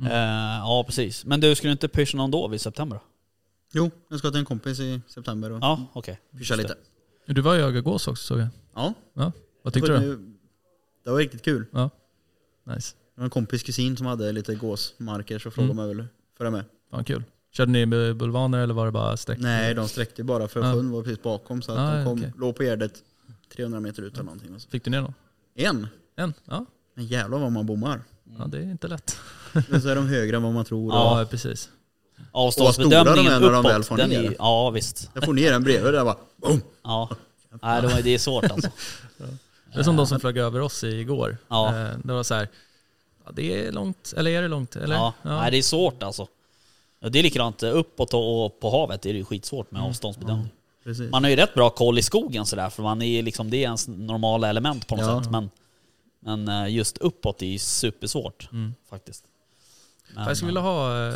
S10: Mm.
S1: Eh, ja, precis. Men du, skulle du inte pyscha någon då vid september? då?
S10: Jo, jag ska till en kompis i september och
S1: Ja, okej.
S10: pyscha
S1: Just
S10: lite.
S5: Du var i Ögagås också såg jag.
S10: Ja.
S5: ja. Vad tyckte du?
S10: Det var riktigt kul.
S5: Ja. Nice. Mm.
S10: Det var en kompis kusin som hade lite gåsmarker så frågade man väl för det med.
S5: Fan kul. Körde ni med bulvaner eller var det bara sträck?
S10: Nej, de sträckte ju bara för
S5: Ja.
S10: sjön var precis bakom så att
S5: Ah,
S10: de kom,
S5: okej.
S10: låg på gärdet 300 meter ut eller någonting. Alltså.
S5: Fick du ner någon?
S10: En!
S5: En? Ja.
S10: Men jävlar vad man bommar.
S5: Ja, det är inte lätt.
S10: Men så är de högre än vad man tror.
S5: Ja,
S10: och,
S5: precis.
S10: Och vad stora
S1: Avståndsbedömningen
S10: de är när de
S1: uppåt,
S10: väl får
S1: den
S10: ner.
S1: är- ja, visst.
S10: Jag får ner den bredvid och där bara boom!
S1: Ja. Nej, det, var, det är svårt alltså.
S5: Det är som de som flög över oss igår.
S1: Ja.
S5: Eh, Det var så här, ja, det är långt, eller är det långt? Eller?
S1: Ja. Nej, det är
S10: Mm.
S1: svårt alltså. Ja, Det är likadant eh, uppåt och och på havet är det ju skitsvårt med avståndsbedömning.
S2: Precis.
S1: Man har ju rätt bra koll i skogen sådär, för man är ju liksom, det är ens normala element på något
S2: Ja.
S1: sätt. Men, men eh, just uppåt är ju supersvårt
S5: Mm.
S1: faktiskt. Men,
S5: Jag skulle vilja ha eh,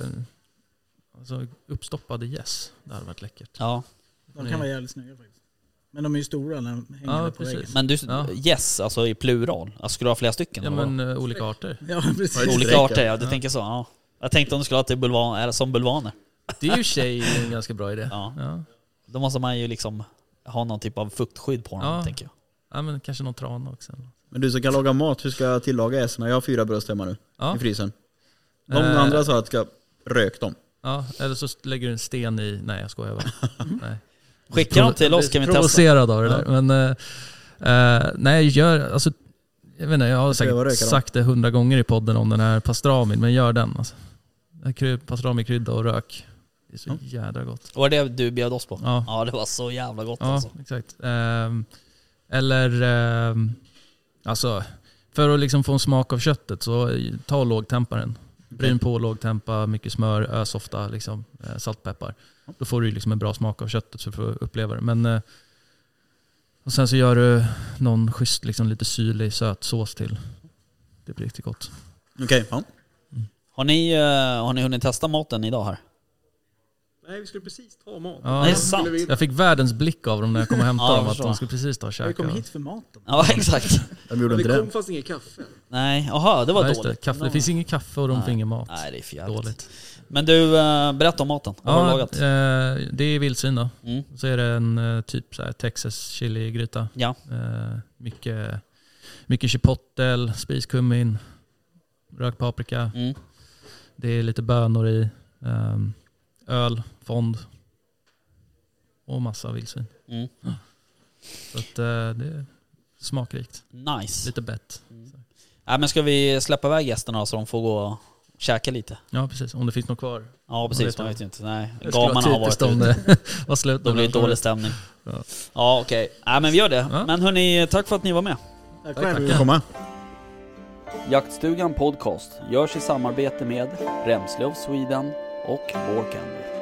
S5: alltså, uppstoppade gäss. Det hade varit läckert.
S1: Ja.
S11: De kan vara jävligt snygga faktiskt. Men de är ju stora när de hänger där på väggen.
S1: Men du,
S5: Ja.
S1: yes, alltså i plural. Alltså, skulle du ha flera stycken?
S5: Ja,
S1: eller vadå?
S5: men, eh, olika arter. Ja, precis.
S1: Olika
S5: Streckar.
S1: arter, ja. Du
S5: Ja.
S1: tänker så. Ja. Jag tänkte om du skulle ha till bulvan, eller som bulvaner.
S5: Det är ju i och för sig en ganska bra idé.
S1: Ja.
S5: Ja.
S1: Då måste man ju liksom ha någon typ av fuktskydd på dem,
S5: Ja.
S1: tänker jag.
S5: Ja, men kanske någon trana också.
S10: Men du som kan laga mat, hur ska jag tillaga äsarna? Jag har fyra bröst hemma nu
S5: Ja.
S10: i frysen. De
S5: Eh.
S10: andra sa att jag ska röka dem.
S5: Ja, eller så lägger du en sten i... Nej, jag skojar bara. nej.
S1: Skicka dem till oss, kan vi testa.
S5: Provocerad av det där. Men, eh, eh, nej, gör... Alltså, jag vet inte, jag har
S10: ska jag
S5: säkert
S10: röka dem.
S5: sagt det hundra gånger i podden om den här pastramin, men gör den. Alltså. Kry- Pastrami-krydda och rök. Det är så jädra gott.
S1: Var det du bjöd oss på?
S5: Ja.
S1: det var så jävla gott
S5: Ja,
S1: alltså.
S5: exakt. Ehm, eller, ehm, alltså, för att liksom få en smak av köttet så eh, ta lågtemparen. Bryn på lågtempa, mycket smör, ös ofta, liksom, eh, saltpeppar. Då får du ju liksom en bra smak av köttet så du får uppleva det. Men, eh, och sen så gör du någon schysst, liksom, lite syrlig sötsås till. Det blir riktigt gott.
S10: Okej, ja.
S1: Har ni, eh, har ni hunnit testa maten idag här?
S12: Nej, vi skulle precis ta mat.
S5: Ja,
S12: Skulle
S5: sant.
S12: vi-
S5: Jag fick världens blick av dem när jag kom och hämtade
S1: Ja, jag
S5: dem. Att
S1: förstår.
S5: de skulle precis ta och käka.
S11: Jag kom hit för maten.
S1: Ja, exakt.
S10: De gjorde
S12: Men
S10: inte
S12: det
S10: det.
S12: kom fast inget kaffe.
S1: Nej, aha, det var
S5: Ja, just det.
S1: dåligt.
S5: Kaffe. Det finns inget kaffe och de får
S1: Nej.
S5: ingen mat.
S1: Nej, det är för jävligt.
S5: Dåligt.
S1: Men du, eh, berätta om maten. Vad har du
S5: Ja,
S1: lagat? Mm.
S5: eh, det är vildsvin då. Så är det en eh, typ så här Texas chili-gryta.
S1: Ja.
S5: Eh, mycket, mycket chipotle, spiskummin, rökt paprika.
S1: Mm.
S5: Det är lite bönor i, ehm, öl, fond och massa vildsvin.
S1: Mm.
S5: Så att, eh, det är smakrikt.
S1: Nice. Mm.
S5: Lite bett.
S1: Nej, men ska vi släppa iväg gästerna så de får gå och käka lite?
S5: Ja precis, om det finns något kvar.
S1: Ja
S5: Man
S1: precis,
S5: vet
S1: man vet
S5: aldrig.
S1: ju inte. Nej,
S5: Det skulle
S1: gamarna har
S5: vara
S1: varit
S5: typiskt om
S1: ute.
S5: det var slut
S1: Då
S5: när
S1: blir
S5: de
S1: det
S5: kom
S1: dålig
S5: ut.
S1: stämning.
S5: Ja.
S1: Ja, okej. Nej men vi gör det. Men hörni, tack för att ni var med.
S11: Tack
S10: själv. Tack. Välkomna.
S4: Jaktstugan Podcast görs i samarbete med Remslöv Sweden och Borkander.